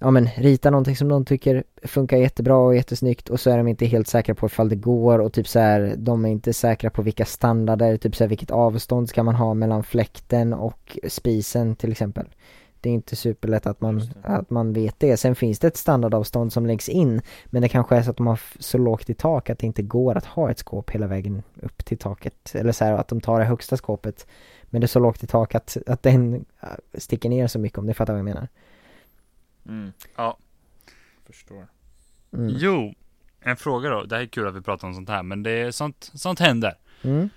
Ja men ritar någonting som de tycker funkar jättebra och jättesnyggt och så är de inte helt säkra på ifall det går och typ så här, de är inte säkra på vilka standarder, typ så här, vilket avstånd ska man ha mellan fläkten och spisen till exempel. Det är inte superlätt att man,
Just det.
att man vet det. Sen finns det ett standardavstånd som läggs in, men det kanske är så att de har f- så lågt i tak att det inte går att ha ett skåp hela vägen upp till taket. Eller så här att de tar det högsta skåpet, men det är så lågt i tak att, att den äh, sticker ner så mycket om ni fattar vad jag menar.
Mm.
Ja.
Förstår.
Mm.
Jo, en fråga då. Det här är kul att vi pratar om sånt här, men det är sånt, sånt händer.
Mm.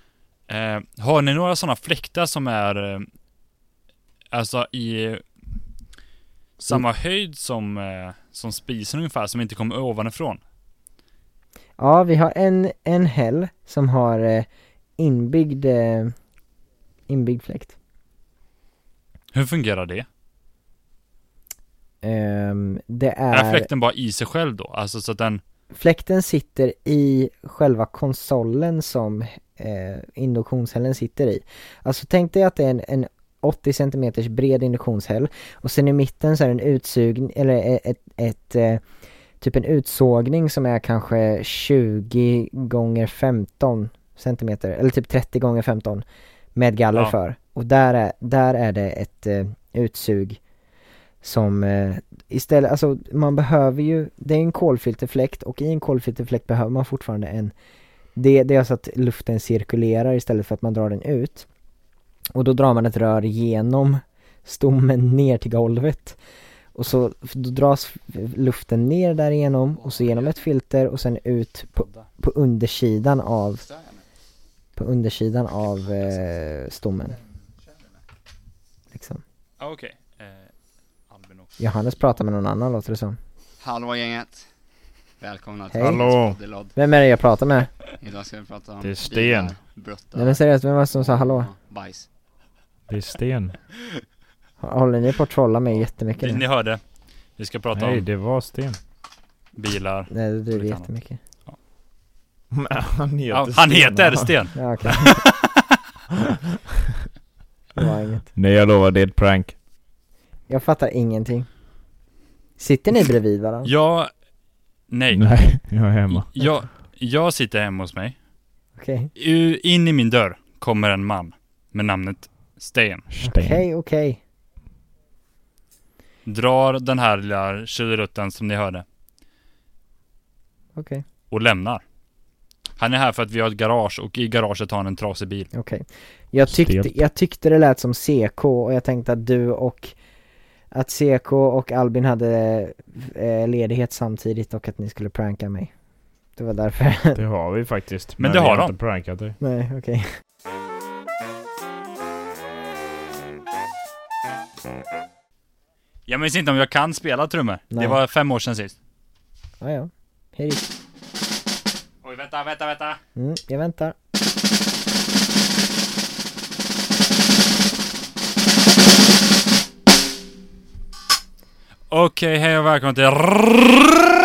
Eh, har ni några sådana fläktar som är eh, alltså i eh, samma
Mm.
höjd som, eh, som spisen ungefär, som inte kommer ovanifrån?
Ja, vi har en, en häll som har eh, inbyggd, eh, inbyggd fläkt.
Hur fungerar det?
Ehm, det
Är
är,
fläkten bara i sig själv då? Alltså så att den,
fläkten sitter i själva konsolen som eh, induktionshällen sitter i. Alltså tänk dig att det är en, en 80 cm bred induktionshäll och sen i mitten så är det en utsugning, eller e- ett, ett, eh, typ en utsågning som är kanske 20 gånger 15 cm, eller typ 30 gånger 15 med galler
Ja.
för. Och där är, där är det ett eh, utsug som eh, istället, alltså man behöver ju, det är en kolfilterfläkt och i en kolfilterfläkt behöver man fortfarande en det, det är alltså att luften cirkulerar istället för att man drar den ut. Och då drar man ett rör genom stommen ner till golvet. Och så då dras luften ner därigenom och så genom ett filter och sen ut på, på undersidan av på undersidan av eh, stommen. Liksom.
ah, okej. Albin också.
Johannes pratar med någon annan låter det som.
Hallå gänget! Välkomna till
Hej.
Hallå.
Poddelod.
Vem är det jag pratar med?
Idag ska vi prata om
Det är Sten.
bilar, bruttar,
Nej men seriöst, vem var det som sa hallå?
och Bajs.
Det är Sten.
Håller ni på att trolla mig jättemycket
Ni
nu?
hörde. Vi ska prata
Nej,
om
det var <laughs> Sten.
bilar.
Nej det duger
Lite annat.
jättemycket.
han heter
Ah, han heter Sten!
Ja, okej. det var inget.
<laughs> Nej, jag lovar, det är ett prank.
Jag fattar ingenting. Sitter ni bredvid varandra?
Jag, nej.
Nej, jag är <laughs> hemma.
Jag, jag sitter hemma hos mig.
Okej.
U- In i min dörr kommer en man med namnet Sten.
Sten.
Okej, okej.
Drar den här lilla tjurrutten som ni hörde
Okej.
och lämnar. Han är här för att vi har ett garage och i garaget har han en trasig bil.
Okej. Jag,
Stelt.
tyckte, jag tyckte det lät som CK och jag tänkte att du och att CK och Albin hade eh, ledighet samtidigt och att ni skulle pranka mig. Det var därför. <laughs>
Det har vi faktiskt.
Men det
vi
har de.
inte prankat dig.
Nej, okej.
Jag minns inte om jag kan spela trummor.
Nej.
Det var fem år sedan sist.
Ja, ja. Hej då.
Oj, vänta, vänta, vänta.
Mm, jag väntar.
Okej, hej och välkommen till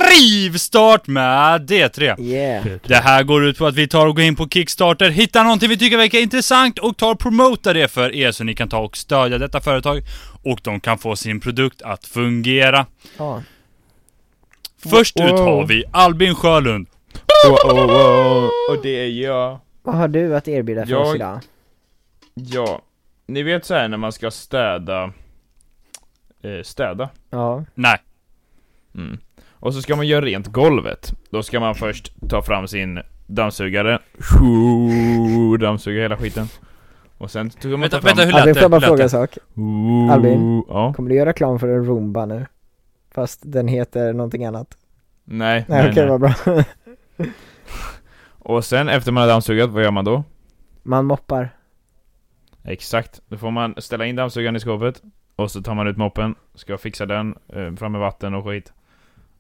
Rivstart med D3.
Yeah.
Det här går ut på att vi tar och går in på Kickstarter, hittar någonting vi tycker verkar intressant och tar och promotar det för er så ni kan ta och stödja detta företag och de kan få sin produkt att fungera.
Ja.
Först ut
Wow.
har vi Albin Sjölund.
Oh, oh, oh. Och det är jag.
Vad har du att erbjuda för
Jag-
oss idag?
Ja, ni vet så här när man ska städa. Eh, städa.
Ja.
Nej,
Mm. Och så ska man göra rent golvet. Då ska man först ta fram sin dammsugare. Shoo, Dammsuga hela skiten. Och sen tog man
vänta,
ta fram...
vänta, hur lät
Albin, får
det?
jag
Hur
bara
lät
fråga en
det?
sak?
Ooh,
Albin?
Ja.
Kommer du göra reklam för en Roomba nu? Fast den heter någonting annat.
Nej,
Nej,
nej,
okej,
nej.
vad bra. <laughs>
Och sen efter man har dammsugat, vad gör man då?
Man moppar.
Exakt, då får man ställa in dammsugaren i skåpet Och så tar man ut moppen, ska fixa den, eh, fram med vatten och skit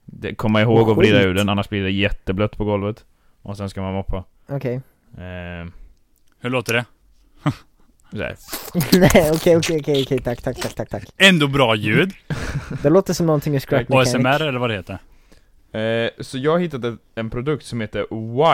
det, Komma ihåg
Och
att vrida
skit.
ur den, annars blir det jätteblött på golvet Och sen ska man moppa
Okej. <laughs>
eh,
Hur låter det?
så här.
Nej, okej, okej, okej, okej, tack, tack, tack, tack, tack.
Ändå bra ljud.
Det låter som någonting ur Scrap Mechanic.
ASMR eller vad det heter.
Eh, Så jag har hittat ett, en produkt som heter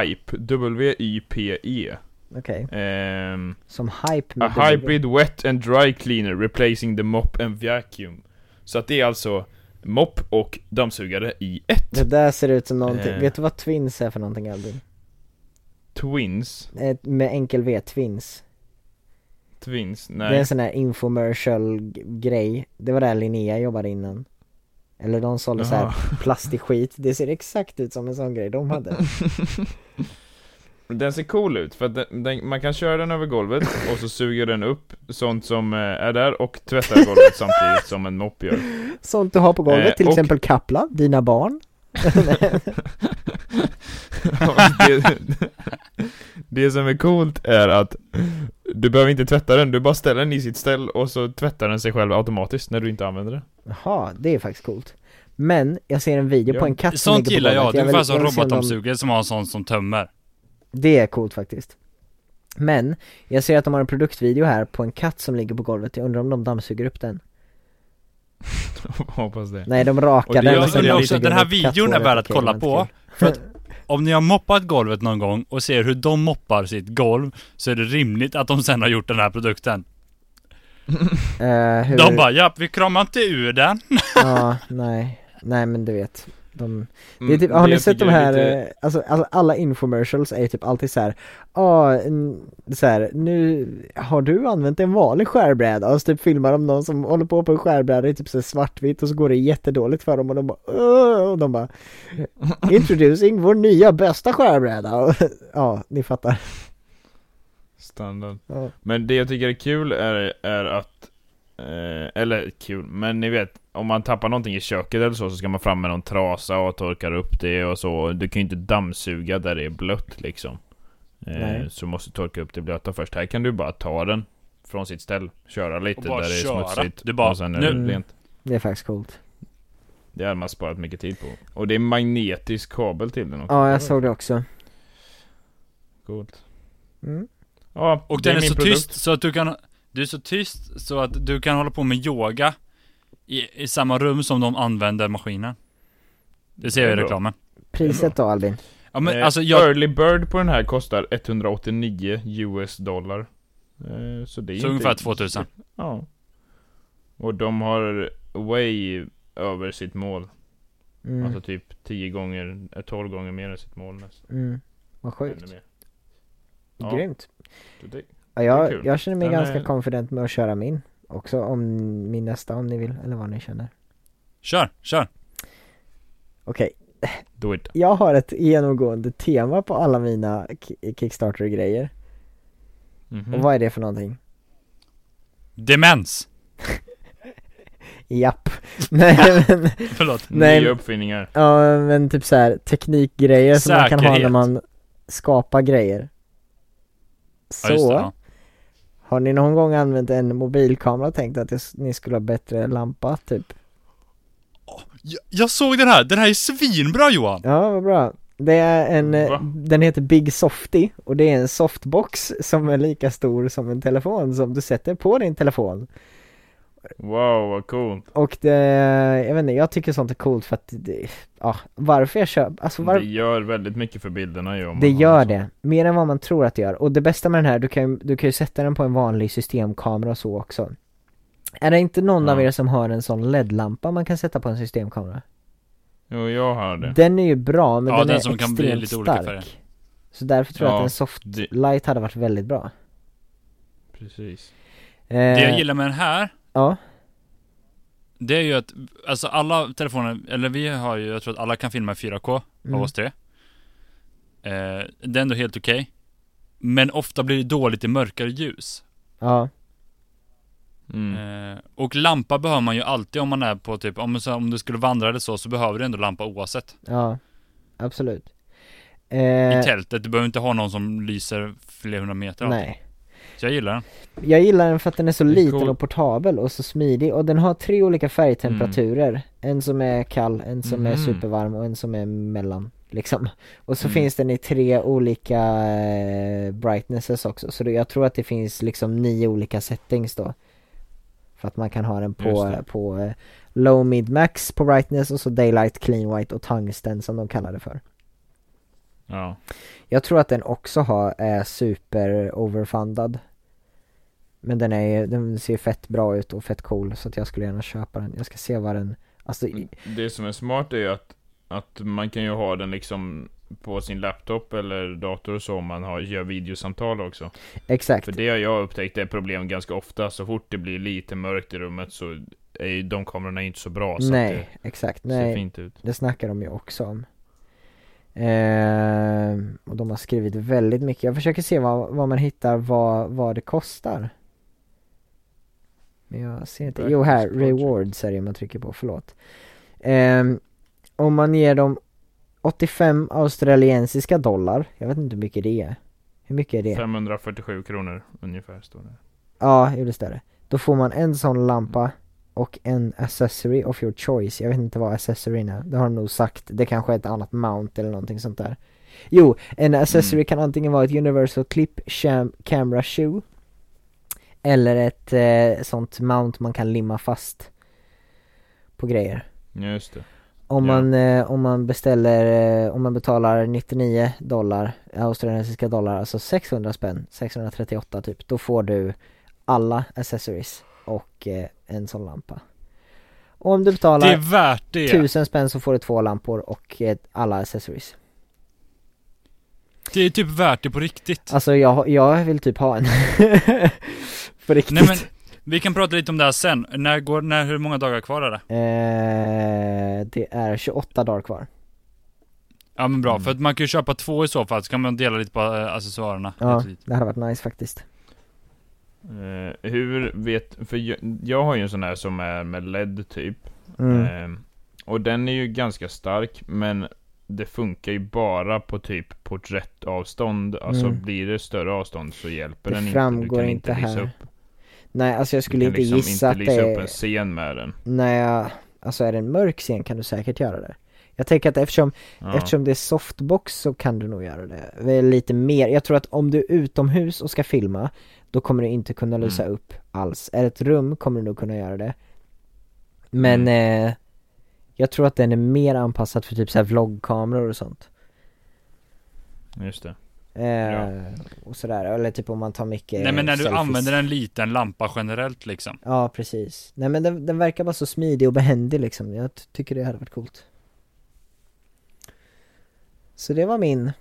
Wipe, W-Y-P-E
Okej,
E. Ehm,
som Hype
A
med W.
hybrid wet and dry cleaner replacing the mop and vacuum Så att det är alltså mopp och dammsugare i ett
Det där ser ut som någonting,
Eh.
vet du vad Twins är för någonting Albin?
Twins,
Eh, Med enkel V, Twins.
twins,
Det är
nej
en sån här infomercial g- grej, det var där Linnea jobbade innan. Eller de sålde så
Jaha.
här
<laughs>
plastig skit, det ser exakt ut som en sån grej de hade.
Den ser cool ut, för att den, den, man kan köra den över golvet och så suger den upp sånt som eh, är där och tvättar golvet samtidigt som en mopp gör
Sånt du har på golvet,
Eh,
till
och-
exempel Kapla, dina barn.
det, <laughs> det som är coolt är att du behöver inte tvätta den, du bara ställer den i sitt ställ och så tvättar den sig själv automatiskt när du inte använder den
Jaha, det är faktiskt coolt. Men, jag ser en video
Ja.
på en katt som
Sånt
ligger på
gillar jag.
golvet.
Det är
vill-
ungefär som
vill se om de-
robotdammsugare som har en sån som tömmer.
Det är coolt faktiskt. Men, jag ser att de har en produktvideo här på en katt som ligger på golvet, jag undrar om de dammsuger upp den?
<laughs> Hoppas det
Nej de rakar
Och det
den
gör- liksom
och sen
det gör
dammsuger
också att den här
upp
videon är
katthåret.
värd att
Okej,
kolla
men
på.
okej.
För att om ni har moppat golvet någon gång och ser hur de moppar sitt golv så är det rimligt att de sen har gjort den här produkten.
Eh, hur...
De bara ja, vi kramar inte ur den.
Ja, nej, nej men du vet de,
Mm,
det är typ, har ni sett de här, eh, alltså, alltså alla infomercials är ju typ alltid så här, ja, en- så här, nu har du använt en vanlig skärbräda och så typ filmar de någon som håller på på en skärbräda i typ så här svartvitt och så går det jättedåligt för dem och de bara, "Åh", och de
<laughs>
bara Introducing vår nya bästa skärbräda <laughs> och, ja, ni fattar.
Standard
Ja.
Men det jag tycker är kul är, är att eh, Eller kul, men ni vet Om man tappar någonting i köket eller så så ska man fram med någon trasa och torkar upp det och så Du kan ju inte dammsuga där det är blött liksom eh,
Nej.
Så måste du torka upp det blöta först Här kan du bara ta den Från sitt ställ Köra lite
Och bara
där det är
köra.
smutsigt
Du bara,
och sen är
nu.
det rent
Det är faktiskt coolt.
Det hade man sparat mycket tid på Och det är magnetisk kabel till den också
Ja,
Det var
jag såg det också.
Coolt
Mm.
Ja,
Och
det
den är
min
så
produkt.
tyst så att du kan, du är så tyst så att du kan hålla på med yoga i, i samma rum som de använder maskinen. Det ser jag i
Det är bra.
reklamen.
Priset då Albin?
Ja men
eh,
alltså jag,
Early bird på den här kostar 189 US dollar. Eh, så det är
så
inte-
ungefär 2000.
Ja. Och de har way över sitt mål.
Mm.
Alltså typ 10 gånger, eh, 12 gånger mer än sitt mål nästan.
Mm. Vad
Ännu
sjukt.
mer. Ja.
Grymt.
Så det-
Ja,
Det är
jag,
kul.
jag känner mig
Den
ganska
är-
confident med att köra min också, om min nästa om ni vill, eller vad ni känner.
Kör, kör.
Okej,
Do it.
jag har ett genomgående tema på alla mina ki- Kickstarter-grejer.
Mhm.
Och vad är det för någonting?
Demens! <laughs>
Japp. <laughs> Nej men,
Förlåt.
nej.
Nya uppfinningar.
ja men typ så här teknikgrejer som man kan ha när
Säkerhet.
man skapar grejer. Så,
Ja, just det, ja.
har ni någon gång använt en mobilkamera och tänkt att det, s- ni skulle ha bättre lampa typ?
jag, jag såg den här, den här är svinbra Johan!
Ja, vad bra. Det är en, eh,
Va?
den heter Big Softy och det är en softbox som är lika stor som en telefon som du sätter på din telefon.
Wow, vad coolt.
Och det, jag vet inte, jag tycker sånt är coolt för att det, ja, varför jag köper, alltså
Det
var,
gör väldigt mycket för bilderna ju. om
det
man-
alltså.
gör det, mer än vad man tror att det gör. Och det bästa med den här, du kan, ju- du kan ju sätta den på en vanlig systemkamera och så också. Är det inte någon av
Ja.
er som har en sån LED-lampa man kan sätta på en systemkamera?
Jo, jag har det.
Den är ju bra, men
Ja,
den,
den
är
som kan
extremt
bli lite olika
stark.
färger.
Så därför tror jag att
Ja,
en soft
det-
light hade varit väldigt bra.
Precis.
Eh,
Det jag gillar med den här,
Ja,
det är ju att, alltså alla telefoner, eller vi har ju, jag tror att alla kan filma i 4K
mm.
av oss tre. Eh, det är ändå helt okej. Men ofta blir det dåligt i mörkare ljus.
ja,
Mm.
Eh, och lampa behöver man ju alltid om man är på typ, om, så- om du skulle vandra eller så, så behöver du ändå lampa oavsett.
ja, absolut.
I
Eh,
tältet, du behöver inte ha någon som lyser flera hundra meter.
nej.
Så jag gillar den.
Jag gillar den för att den är så
Det är
liten
cool.
och portabel och så smidig och den har tre olika färgtemperaturer
Mm.
En som är kall, en som är
Mhm.
supervarm och en som är mellan liksom Och
Mm.
så finns den i tre olika eh, brightnesses också så det, jag tror att det finns liksom nio olika settings då För att man kan ha den
Just
på,
det.
på eh, low mid max på brightness och så daylight, clean white och tungsten som de kallar det för
Ja.
jag tror att den också har, är super overfundad Men den är ju- den ser fett bra ut och fett cool så att jag skulle gärna köpa den Jag ska se vad den, alltså i-
Det som är smart är ju att, att man kan ju ha den liksom på sin laptop eller dator och så om man har, gör videosamtal också.
exakt
För det har jag upptäckt är ett problem ganska ofta. Så fort det blir lite mörkt i rummet så är ju de kamerorna inte så bra. Så
Nej, exakt,
att det ser
nej
fint ut.
Det snackar de ju också om Ehm, och de har skrivit väldigt mycket, jag försöker se vad, vad man hittar, vad, vad det kostar Men jag ser inte, jo här,
Breakfast Project.
rewards är det man trycker på, förlåt Ehm, Om man ger dem 85 australiensiska dollar, jag vet inte hur mycket det är Hur mycket är det?
547 kronor ungefär står det.
Ja, jo det står det. Då får man en sån lampa och en accessory of your choice. Jag vet inte vad accessoryn är. Det har de nog sagt. Det kanske är ett annat mount eller någonting sånt där. Jo, en accessory kan antingen vara ett universal clip cam- camera shoe. Eller ett eh, sånt mount man kan limma fast på grejer.
Just det.
Om
Ja.
man, eh, om man beställer, eh, om man betalar 99 dollar, australiensiska dollar, alltså 600 spänn, 638 typ, då får du alla accessories och eh, en sån lampa. Och om du
Det är
betalar
värt det!
1000 spänn så får du två lampor och eh, alla accessories.
Det är typ värt det på riktigt.
Alltså jag, jag vill typ ha en. <laughs> På riktigt.
Nej men, vi kan prata lite om det här sen. När går, när, hur många dagar kvar är det?
eh, det är 28 dagar kvar.
Ja men bra,
Mm.
för att man kan ju köpa två i så fall, så kan man dela lite på eh, accessoarerna.
Ja,
Lite, lite.
det hade varit nice faktiskt.
Eh, hur vet, för jag, jag har ju en sån här som är med LED typ.
Mm.
Ehm, och den är ju ganska stark, men det funkar ju bara på typ porträttavstånd. Alltså
Mm.
blir det större avstånd så hjälper
Det
den inte.
framgår
du kan
inte
lysa
här.
Upp,
Nej alltså jag
du
skulle
kan
inte
liksom
gissa
inte
att det
lysa upp
är
en scen med den.
när jag, alltså är det en mörk scen kan du säkert göra det. Jag tänker att eftersom,
Ja.
eftersom det är softbox så kan du nog göra det. Väl Lite mer, jag tror att om du är utomhus och ska filma, då kommer du inte kunna
Mm.
lysa upp alls. Är det ett rum kommer du nog kunna göra det. Men
Mm.
eh, jag tror att den är mer anpassad för typ så här vloggkameror och sånt.
Just det.
Eh,
Ja.
Och sådär, eller typ om man tar mycket
Nej men när du
selfies.
använder en liten lampa generellt liksom.
Ja precis. Nej men den, den verkar bara så smidig och behändig liksom. Jag ty- tycker det hade varit coolt. Så det var min.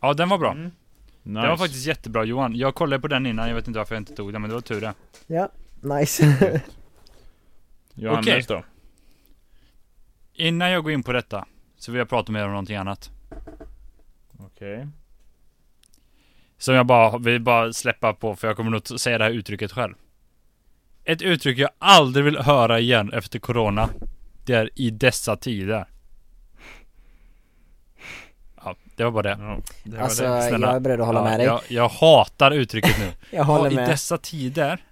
Ja den var bra.
Mm. Nice.
Den var faktiskt jättebra Johan. Jag kollade på den innan, jag vet inte varför jag inte tog den, men det var tur det.
Ja, nice.
Johannes
Okej.
då?
Innan jag går in på detta, Så vill jag prata med er om någonting annat.
Okej.
Som jag bara vill bara släppa på för jag kommer nog t- säga det här uttrycket själv. Ett uttryck jag aldrig vill höra igen efter corona. Det är i dessa tider. Ja, det var bara det.
Ja, det var
Alltså
det.
Snälla.
jag är beredd att hålla
ja,
med dig. Jag,
Jag, jag hatar uttrycket nu.
<laughs> håller
ja, I
med.
dessa tider?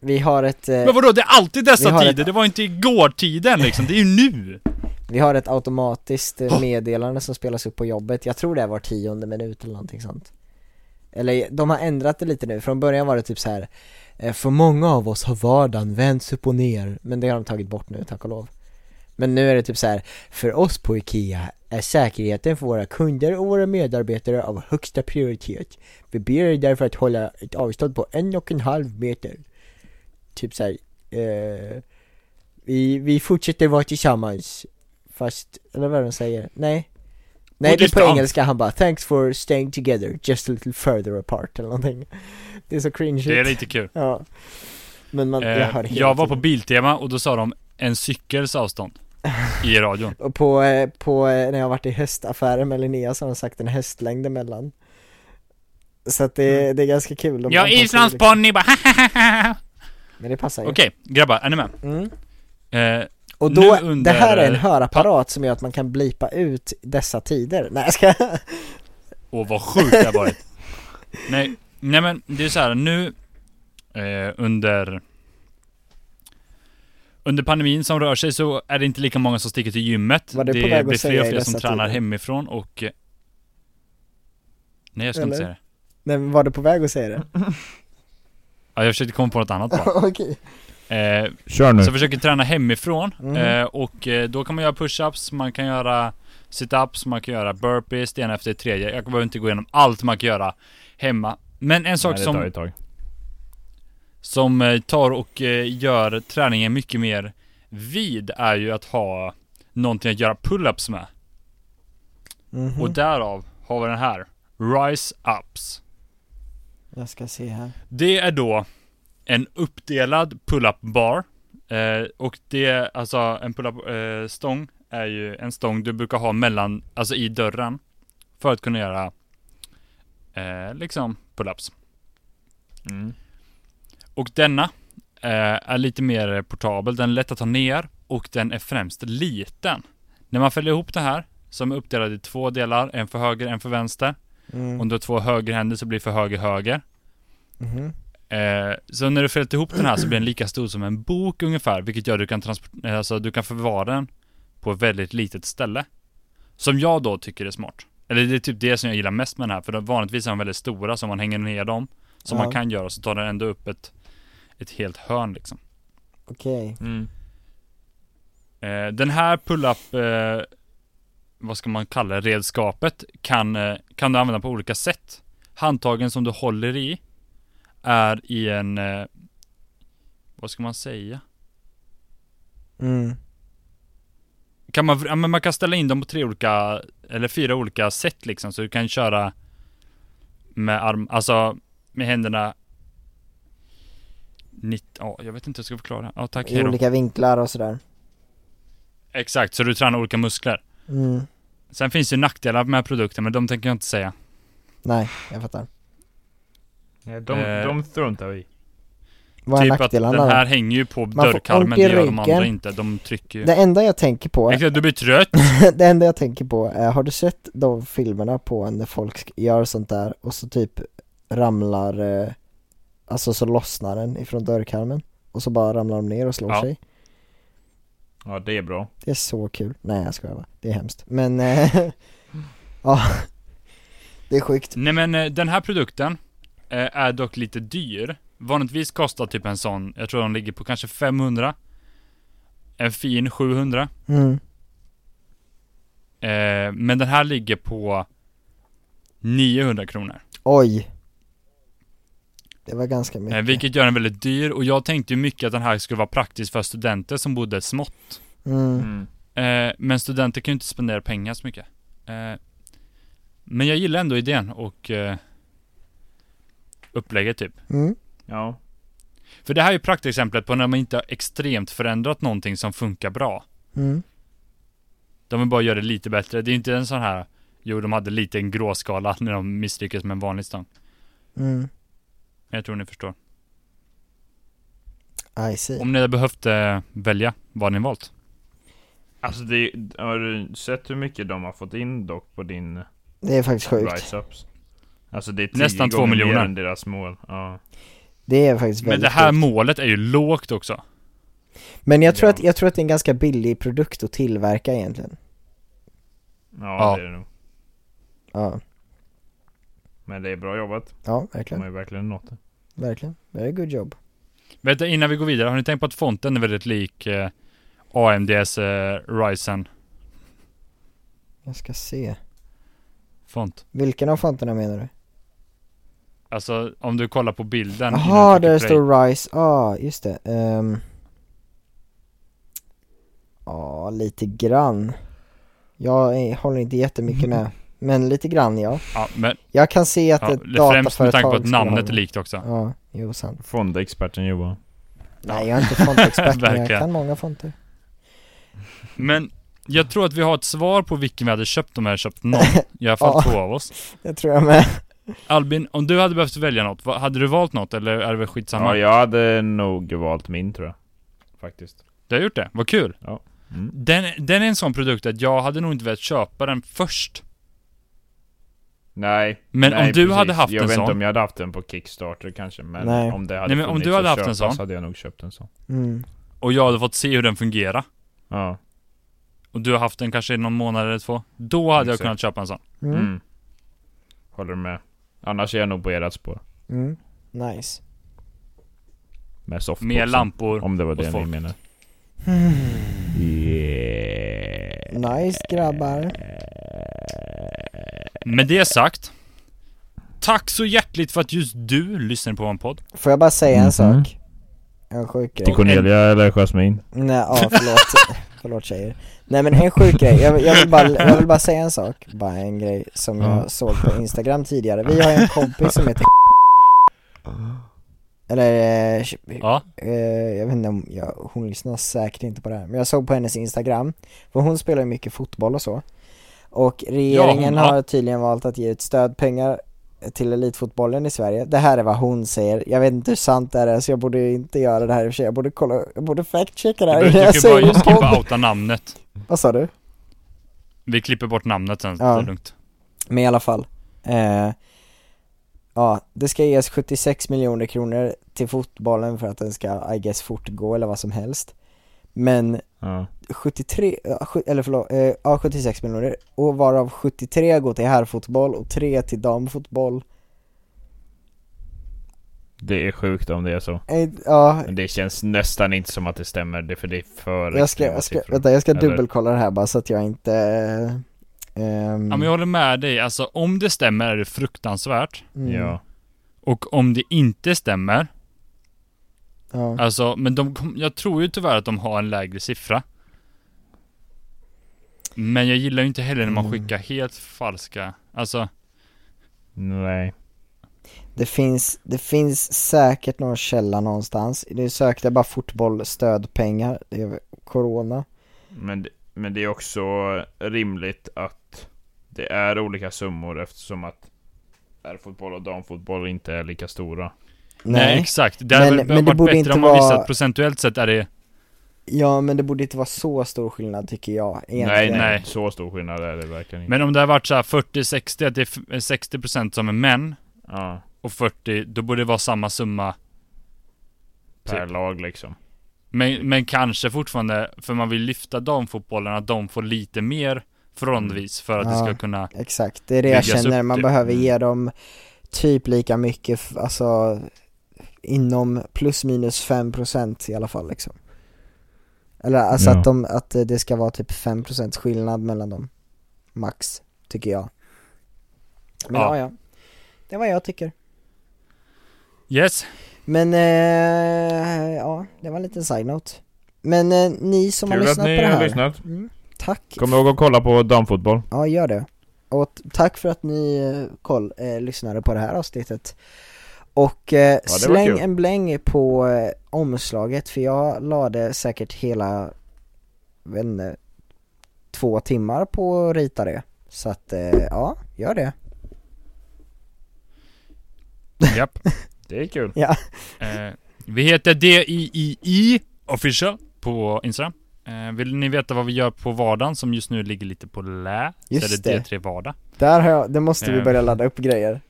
Vi har ett, eh,
Men vadå, det är alltid
Vi
dessa
har ett-
tider? Det var inte igår-tiden liksom, det är
<laughs>
ju nu!
vi har ett automatiskt eh, meddelande som spelas upp på jobbet. Jag tror det är var tionde minut eller någonting sånt. Eller de har ändrat det lite nu. Från början var det typ så här. eh, För många av oss har vardagen vänts upp och ner. Men det har de tagit bort nu, tack och lov. Men nu är det typ så här. För oss på IKEA är säkerheten för våra kunder och våra medarbetare av högsta prioritet. Vi ber er därför att hålla ett avstånd på en och en halv meter. Typ så här. Eh, vi, vi fortsätter vara tillsammans. Fast, eller vad är det de säger? Nej. Nej, det är på
distans.
engelska. Han bara 'Thanks for staying together, just a little further apart' eller någonting. Det är så cringe
Det är
ut.
lite kul.
Ja. Men man, jag hör
Jag,
hela
Eh, jag var på
tiden.
Biltema och då sa de en
<laughs>
cykels avstånd i radion.
Och på, eh, på, eh, när jag varit i hästaffären med Linnea så har de sagt en hästlängd emellan. Så att det, det är ganska kul. De
Mm. Ja,
anpassar det
Islands
liksom.
ponny bara <laughs> Okej,
Men det passar ju.
grabbar, är ni med?
Mm.
Eh,
Och
Nu
då,
under-
det här är en hörapparat som gör att man kan blipa ut dessa tider. Nej jag ska
och vad sjukt det har varit. nej, nej men det är så här nu eh, under under pandemin som rör sig så är det inte lika många som sticker till gymmet.
Var
det
det på väg att
blir
säga
fler och
i
fler som
dessa
tränar
tider?
hemifrån och eh, Nej jag ska inte
Eller?
säga det.
Nej <laughs> men var du på väg att säga det?
Ja, jag försökte komma på något
<laughs>
annat bara.
Okej.
Eh,
Kör nu.
Så jag försöker träna hemifrån
Mm.
eh, och eh, då kan man göra push-ups, man kan göra sit-ups, man kan göra burpees, det ena efter det tredje. Jag behöver inte gå igenom allt man kan göra hemma. Men en sak
Nej, det tar
som,
ju ett tag.
som eh, tar och eh, gör träningen mycket mer vid är ju att ha någonting att göra pull-ups med.
Mhm.
Och därav har vi den här, Rise-ups.
Jag ska se här.
Det är då en uppdelad pull-up bar. Eh, och det, alltså en pull-up eh, stång är ju en stång du brukar ha mellan, alltså i dörren. För att kunna göra, eh, liksom pull-ups.
Mm.
Och denna eh, är lite mer portabel, den är lätt att ta ner och den är främst liten. När man fäller ihop det här, som är uppdelad i två delar, en för höger, en för vänster.
Mm.
Om du har två högerhänder så blir det för höger höger.
Mhm.
Eh, så när du fällt ihop den här så blir den lika stor som en bok ungefär, vilket gör att du kan, transport- eh, alltså, du kan förvara den på ett väldigt litet ställe. Som jag då tycker är smart. Eller det är typ det som jag gillar mest med den här, för de- vanligtvis är de väldigt stora, så man hänger ner dem. Som
Ja.
man kan göra, så tar den ändå upp ett, ett helt hörn liksom.
Okej.
Mm.
Eh, den här pull-up, eh, vad ska man kalla det, redskapet kan, eh, kan du använda på olika sätt. Handtagen som du håller i är i en, eh, vad ska man säga?
Mm.
Kan man, ja, men man kan ställa in dem på tre olika, eller fyra olika sätt liksom, så du kan köra med arm, alltså med händerna 90, ja jag vet inte hur jag ska förklara. Ja tack,
I
hejdå.
olika vinklar och sådär.
Exakt, så du tränar olika muskler.
Mm.
Sen finns det nackdelar med produkten, men de tänker jag inte säga.
Nej, jag fattar.
Nej, de,
Eh.
de struntar vi i.
Vad är
typ att den
nackdelarna då?
här hänger ju på
får
dörrkarmen,
ont
det
i
gör de andra
ryggen.
inte. De trycker ju.
Det enda jag tänker på,
Exakt, du blir trött.
<laughs> det enda jag tänker på är, har du sett de filmerna på när folk gör sånt där och så typ ramlar, eh, alltså så lossnar den ifrån dörrkarmen och så bara ramlar de ner och slår
Ja.
sig?
Ja, det är bra.
Det är så kul. Nej jag skojar bara, det är hemskt. Men, eh, <laughs> ja. Det är sjukt.
Nej men eh, den här produkten eh, är dock lite dyr. Vanligtvis kostar typ en sån, jag tror de ligger på kanske 500. En fin 700.
Mm.
Eh, men den här ligger på 900 kronor.
Oj. Det var ganska mycket.
Eh, vilket gör den väldigt dyr och jag tänkte ju mycket att den här skulle vara praktisk för studenter som bodde smått.
Mm.
Mm.
Eh, men studenter kan ju inte spendera pengar så mycket. Eh, men jag gillar ändå idén och eh, upplägget typ.
Mm.
Ja.
För det här är ju praktexemplet på när man inte har extremt förändrat någonting som funkar bra.
Mm.
De vill bara göra det lite bättre. Det är inte en sån här, jo de hade lite en gråskala <laughs> när de misslyckades med en vanlig stång.
Mm.
Jag tror ni förstår.
I see.
Om ni hade behövt eh, välja, vad hade ni valt?
Alltså det, har du sett hur mycket de har fått in dock på din
Det är faktiskt sjukt.
rise-ups? Alltså det är tio
Nästan två
gånger mer
miljoner.
än deras mål. Ja.
Det är faktiskt
Men
väldigt
det här
sjukt.
målet är ju lågt också.
Men jag tror,
Ja.
att, jag tror att det är en ganska billig produkt att tillverka egentligen.
Ja,
Ja.
det är det nog.
Ja,
Men det är bra jobbat.
ja
De
verkligen.
Mm.
har ju verkligen nått det.
Verkligen. Very good job.
Vet du, innan vi går vidare, har ni tänkt på att fonten är väldigt lik eh, AMDs eh, Ryzen
Jag ska se.
font?
Vilken av fonterna menar du?
Alltså om du kollar på bilden innan typ
Jaha,
du trycker
där det
play.
står Rise. Ja, ah, just det. Ehm. Ja, lite grann. Jag eh, håller inte jättemycket
<laughs>
med. Men lite grann ja.
Ja, men
Jag kan se att
ja,
ett
främst med
dataföretag
tanke på att
skulle ha
namnet
det.
är likt också.
Ja, jo sant.
Fondexperten Johan.
Nej jag är inte
<laughs>
fontexpert men jag
Verkligen.
kan många fonter.
Men jag tror att vi har ett svar på vilken vi hade köpt om vi hade
<laughs>
köpt någon. I alla fall
Ja.
två av oss.
Det tror jag med.
Albin, om du hade behövt välja något, vad- hade du valt något eller är det väl skitsamma?
Ja, jag hade nog valt min tror jag. Faktiskt.
Du har gjort det, vad kul!
Mm.
Den, den är en sån produkt att jag hade nog inte velat köpa den först.
Nej.
Men
nej,
om du
precis.
hade haft
jag
en
vet
sån.
inte om jag hade haft den på Kickstarter kanske. Men
Nej.
om det hade
Nej, men om
funnits
du hade
att
haft en
köpa
sån.
så hade jag nog köpt en sån.
Mm.
och jag hade fått se hur den fungerar
Ja.
och du har haft den kanske i någon månad eller två, då hade jag
Exakt.
kunnat köpa en sån.
Mm.
Mm.
Mm.
Håller du med? Annars är jag nog på ert spår.
Mm. Nice.
Med softboxen.
Med lampor.
Om det var
åt
det ni
folk.
menade.
Hmm.
Yeah.
Nice grabbar.
Med det sagt, tack så hjärtligt för att just du lyssnar på en podd.
Får jag bara säga en
Mhm.
sak? En sjuk grej.
Till Cornelia eller Jasmine?
Nej, ja
<laughs>
förlåt, förlåt tjejer Nej men en sjuk grej, jag, jag, vill bara, jag vill bara säga en sak, bara en grej som
Ja.
jag såg på instagram tidigare Vi har en kompis som
<laughs>
heter Eller, eh,
Ja,
eh, jag vet inte om, jag, hon lyssnar säkert inte på det här Men jag såg på hennes instagram, för hon spelar ju mycket fotboll och så Och regeringen
Ja, hon-
har tydligen valt att ge ut stödpengar till elitfotbollen i Sverige. Det här är vad hon säger. Jag vet inte hur sant det här är så jag borde inte göra det här i och för sig. Jag borde kolla, jag borde fact-checka det här
du, du
innan jag
kan
säger
bara
det på
just
podden.
klippa outa namnet.
Vad sa du?
Vi klipper bort namnet sen,
Ja.
det är lugnt.
Men i alla fall. Eh, ja, det ska ges 76 miljoner kronor till fotbollen för att den ska, I guess, fortgå eller vad som helst. Men
Ja.
73, ja, sju- eller förlåt, eh, ja 76 miljoner och varav 73 går till herrfotboll och 3 till damfotboll.
Det är sjukt om det är så.
Eh, ja,
Men det känns nästan inte som att det stämmer. Det är för det är för
jag ska,
extrema
jag ska,
siffror.
vänta, jag ska
Eller-
dubbelkolla det här bara så att jag inte... Eh, ehm,
Ja men jag håller med dig, alltså om det stämmer är det fruktansvärt.
mm,
Ja.
Och om det inte stämmer,
ja.
alltså, men de, kom- jag tror ju tyvärr att de har en lägre siffra. Men jag gillar ju inte heller när man
Mm.
skickar helt falska, alltså
Nej.
Det finns, det finns säkert någon källa någonstans. Nu sökte jag bara fotboll, stödpengar, det är corona.
Men, det- men det är också rimligt att det är olika summor eftersom att herrfotboll och damfotboll inte är lika stora.
Nej, exakt. Det hade
Men-
väl
men det
varit
borde
bättre
inte
om man visste
vara-
att procentuellt sett är det...
Ja men det borde inte vara så stor skillnad tycker jag egentligen.
Nej, nej,
Nej.
Så stor skillnad är det verkligen inte.
Men om det har varit så här 40-60, att det är f- 60% som är män
ja,
och 40, då borde det vara samma summa.
per
Typ.
lag liksom.
Men, men kanske fortfarande, för man vill lyfta damfotbollen, att de får lite mer förhållandevis för att det
Ja.
ska kunna...
Exakt, det är det jag
Byggas
känner.
upp
Man
det.
behöver
Mm.
ge dem typ lika mycket, f- alltså inom plus minus 5% i alla fall liksom. Eller alltså
Ja.
att, de, att eh, det ska vara typ 5% skillnad mellan dem. Max, tycker jag. Men ja,
Ja.
ja. Det är vad jag tycker.
Yes,
Men eh, ja, det var en liten side-note. Men eh, ni som har
Kul att
lyssnat
ni
på det
har
här.
lyssnat.
Mm, tack
Kom ihåg att kolla på damfotboll.
Ja, gör det. Och t- tack för att ni eh, koll, eh, lyssnade på det här avsnittet. Och eh,
var
släng
kul.
en bläng på eh, omslaget för jag lade säkert hela, vet inte, två timmar på att rita det. Så att, eh, ja, gör det.
Japp.
Det är kul.
Ja.
Eh, vi heter DIII official på Instagram. Eh, vill ni veta vad vi gör på vardagen som just nu ligger lite på lä?
Just
så är
det.
det D3 vardag.
Där har jag, det måste vi
Eh.
börja ladda upp grejer.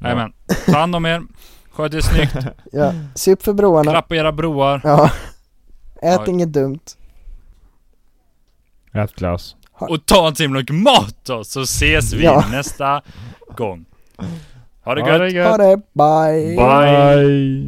Jajamän. Ta hand om er. Sköt er snyggt.
Ja, sup för broarna.
Klappa era broar.
Ja. Ät
Ja.
inget dumt.
Rätt klass.
Och ta en timlok mat då, så ses vi
Ja.
nästa gång. Ha det
Ha
gött.
det
Ha
gött.
det, bye!
Bye.
Bye.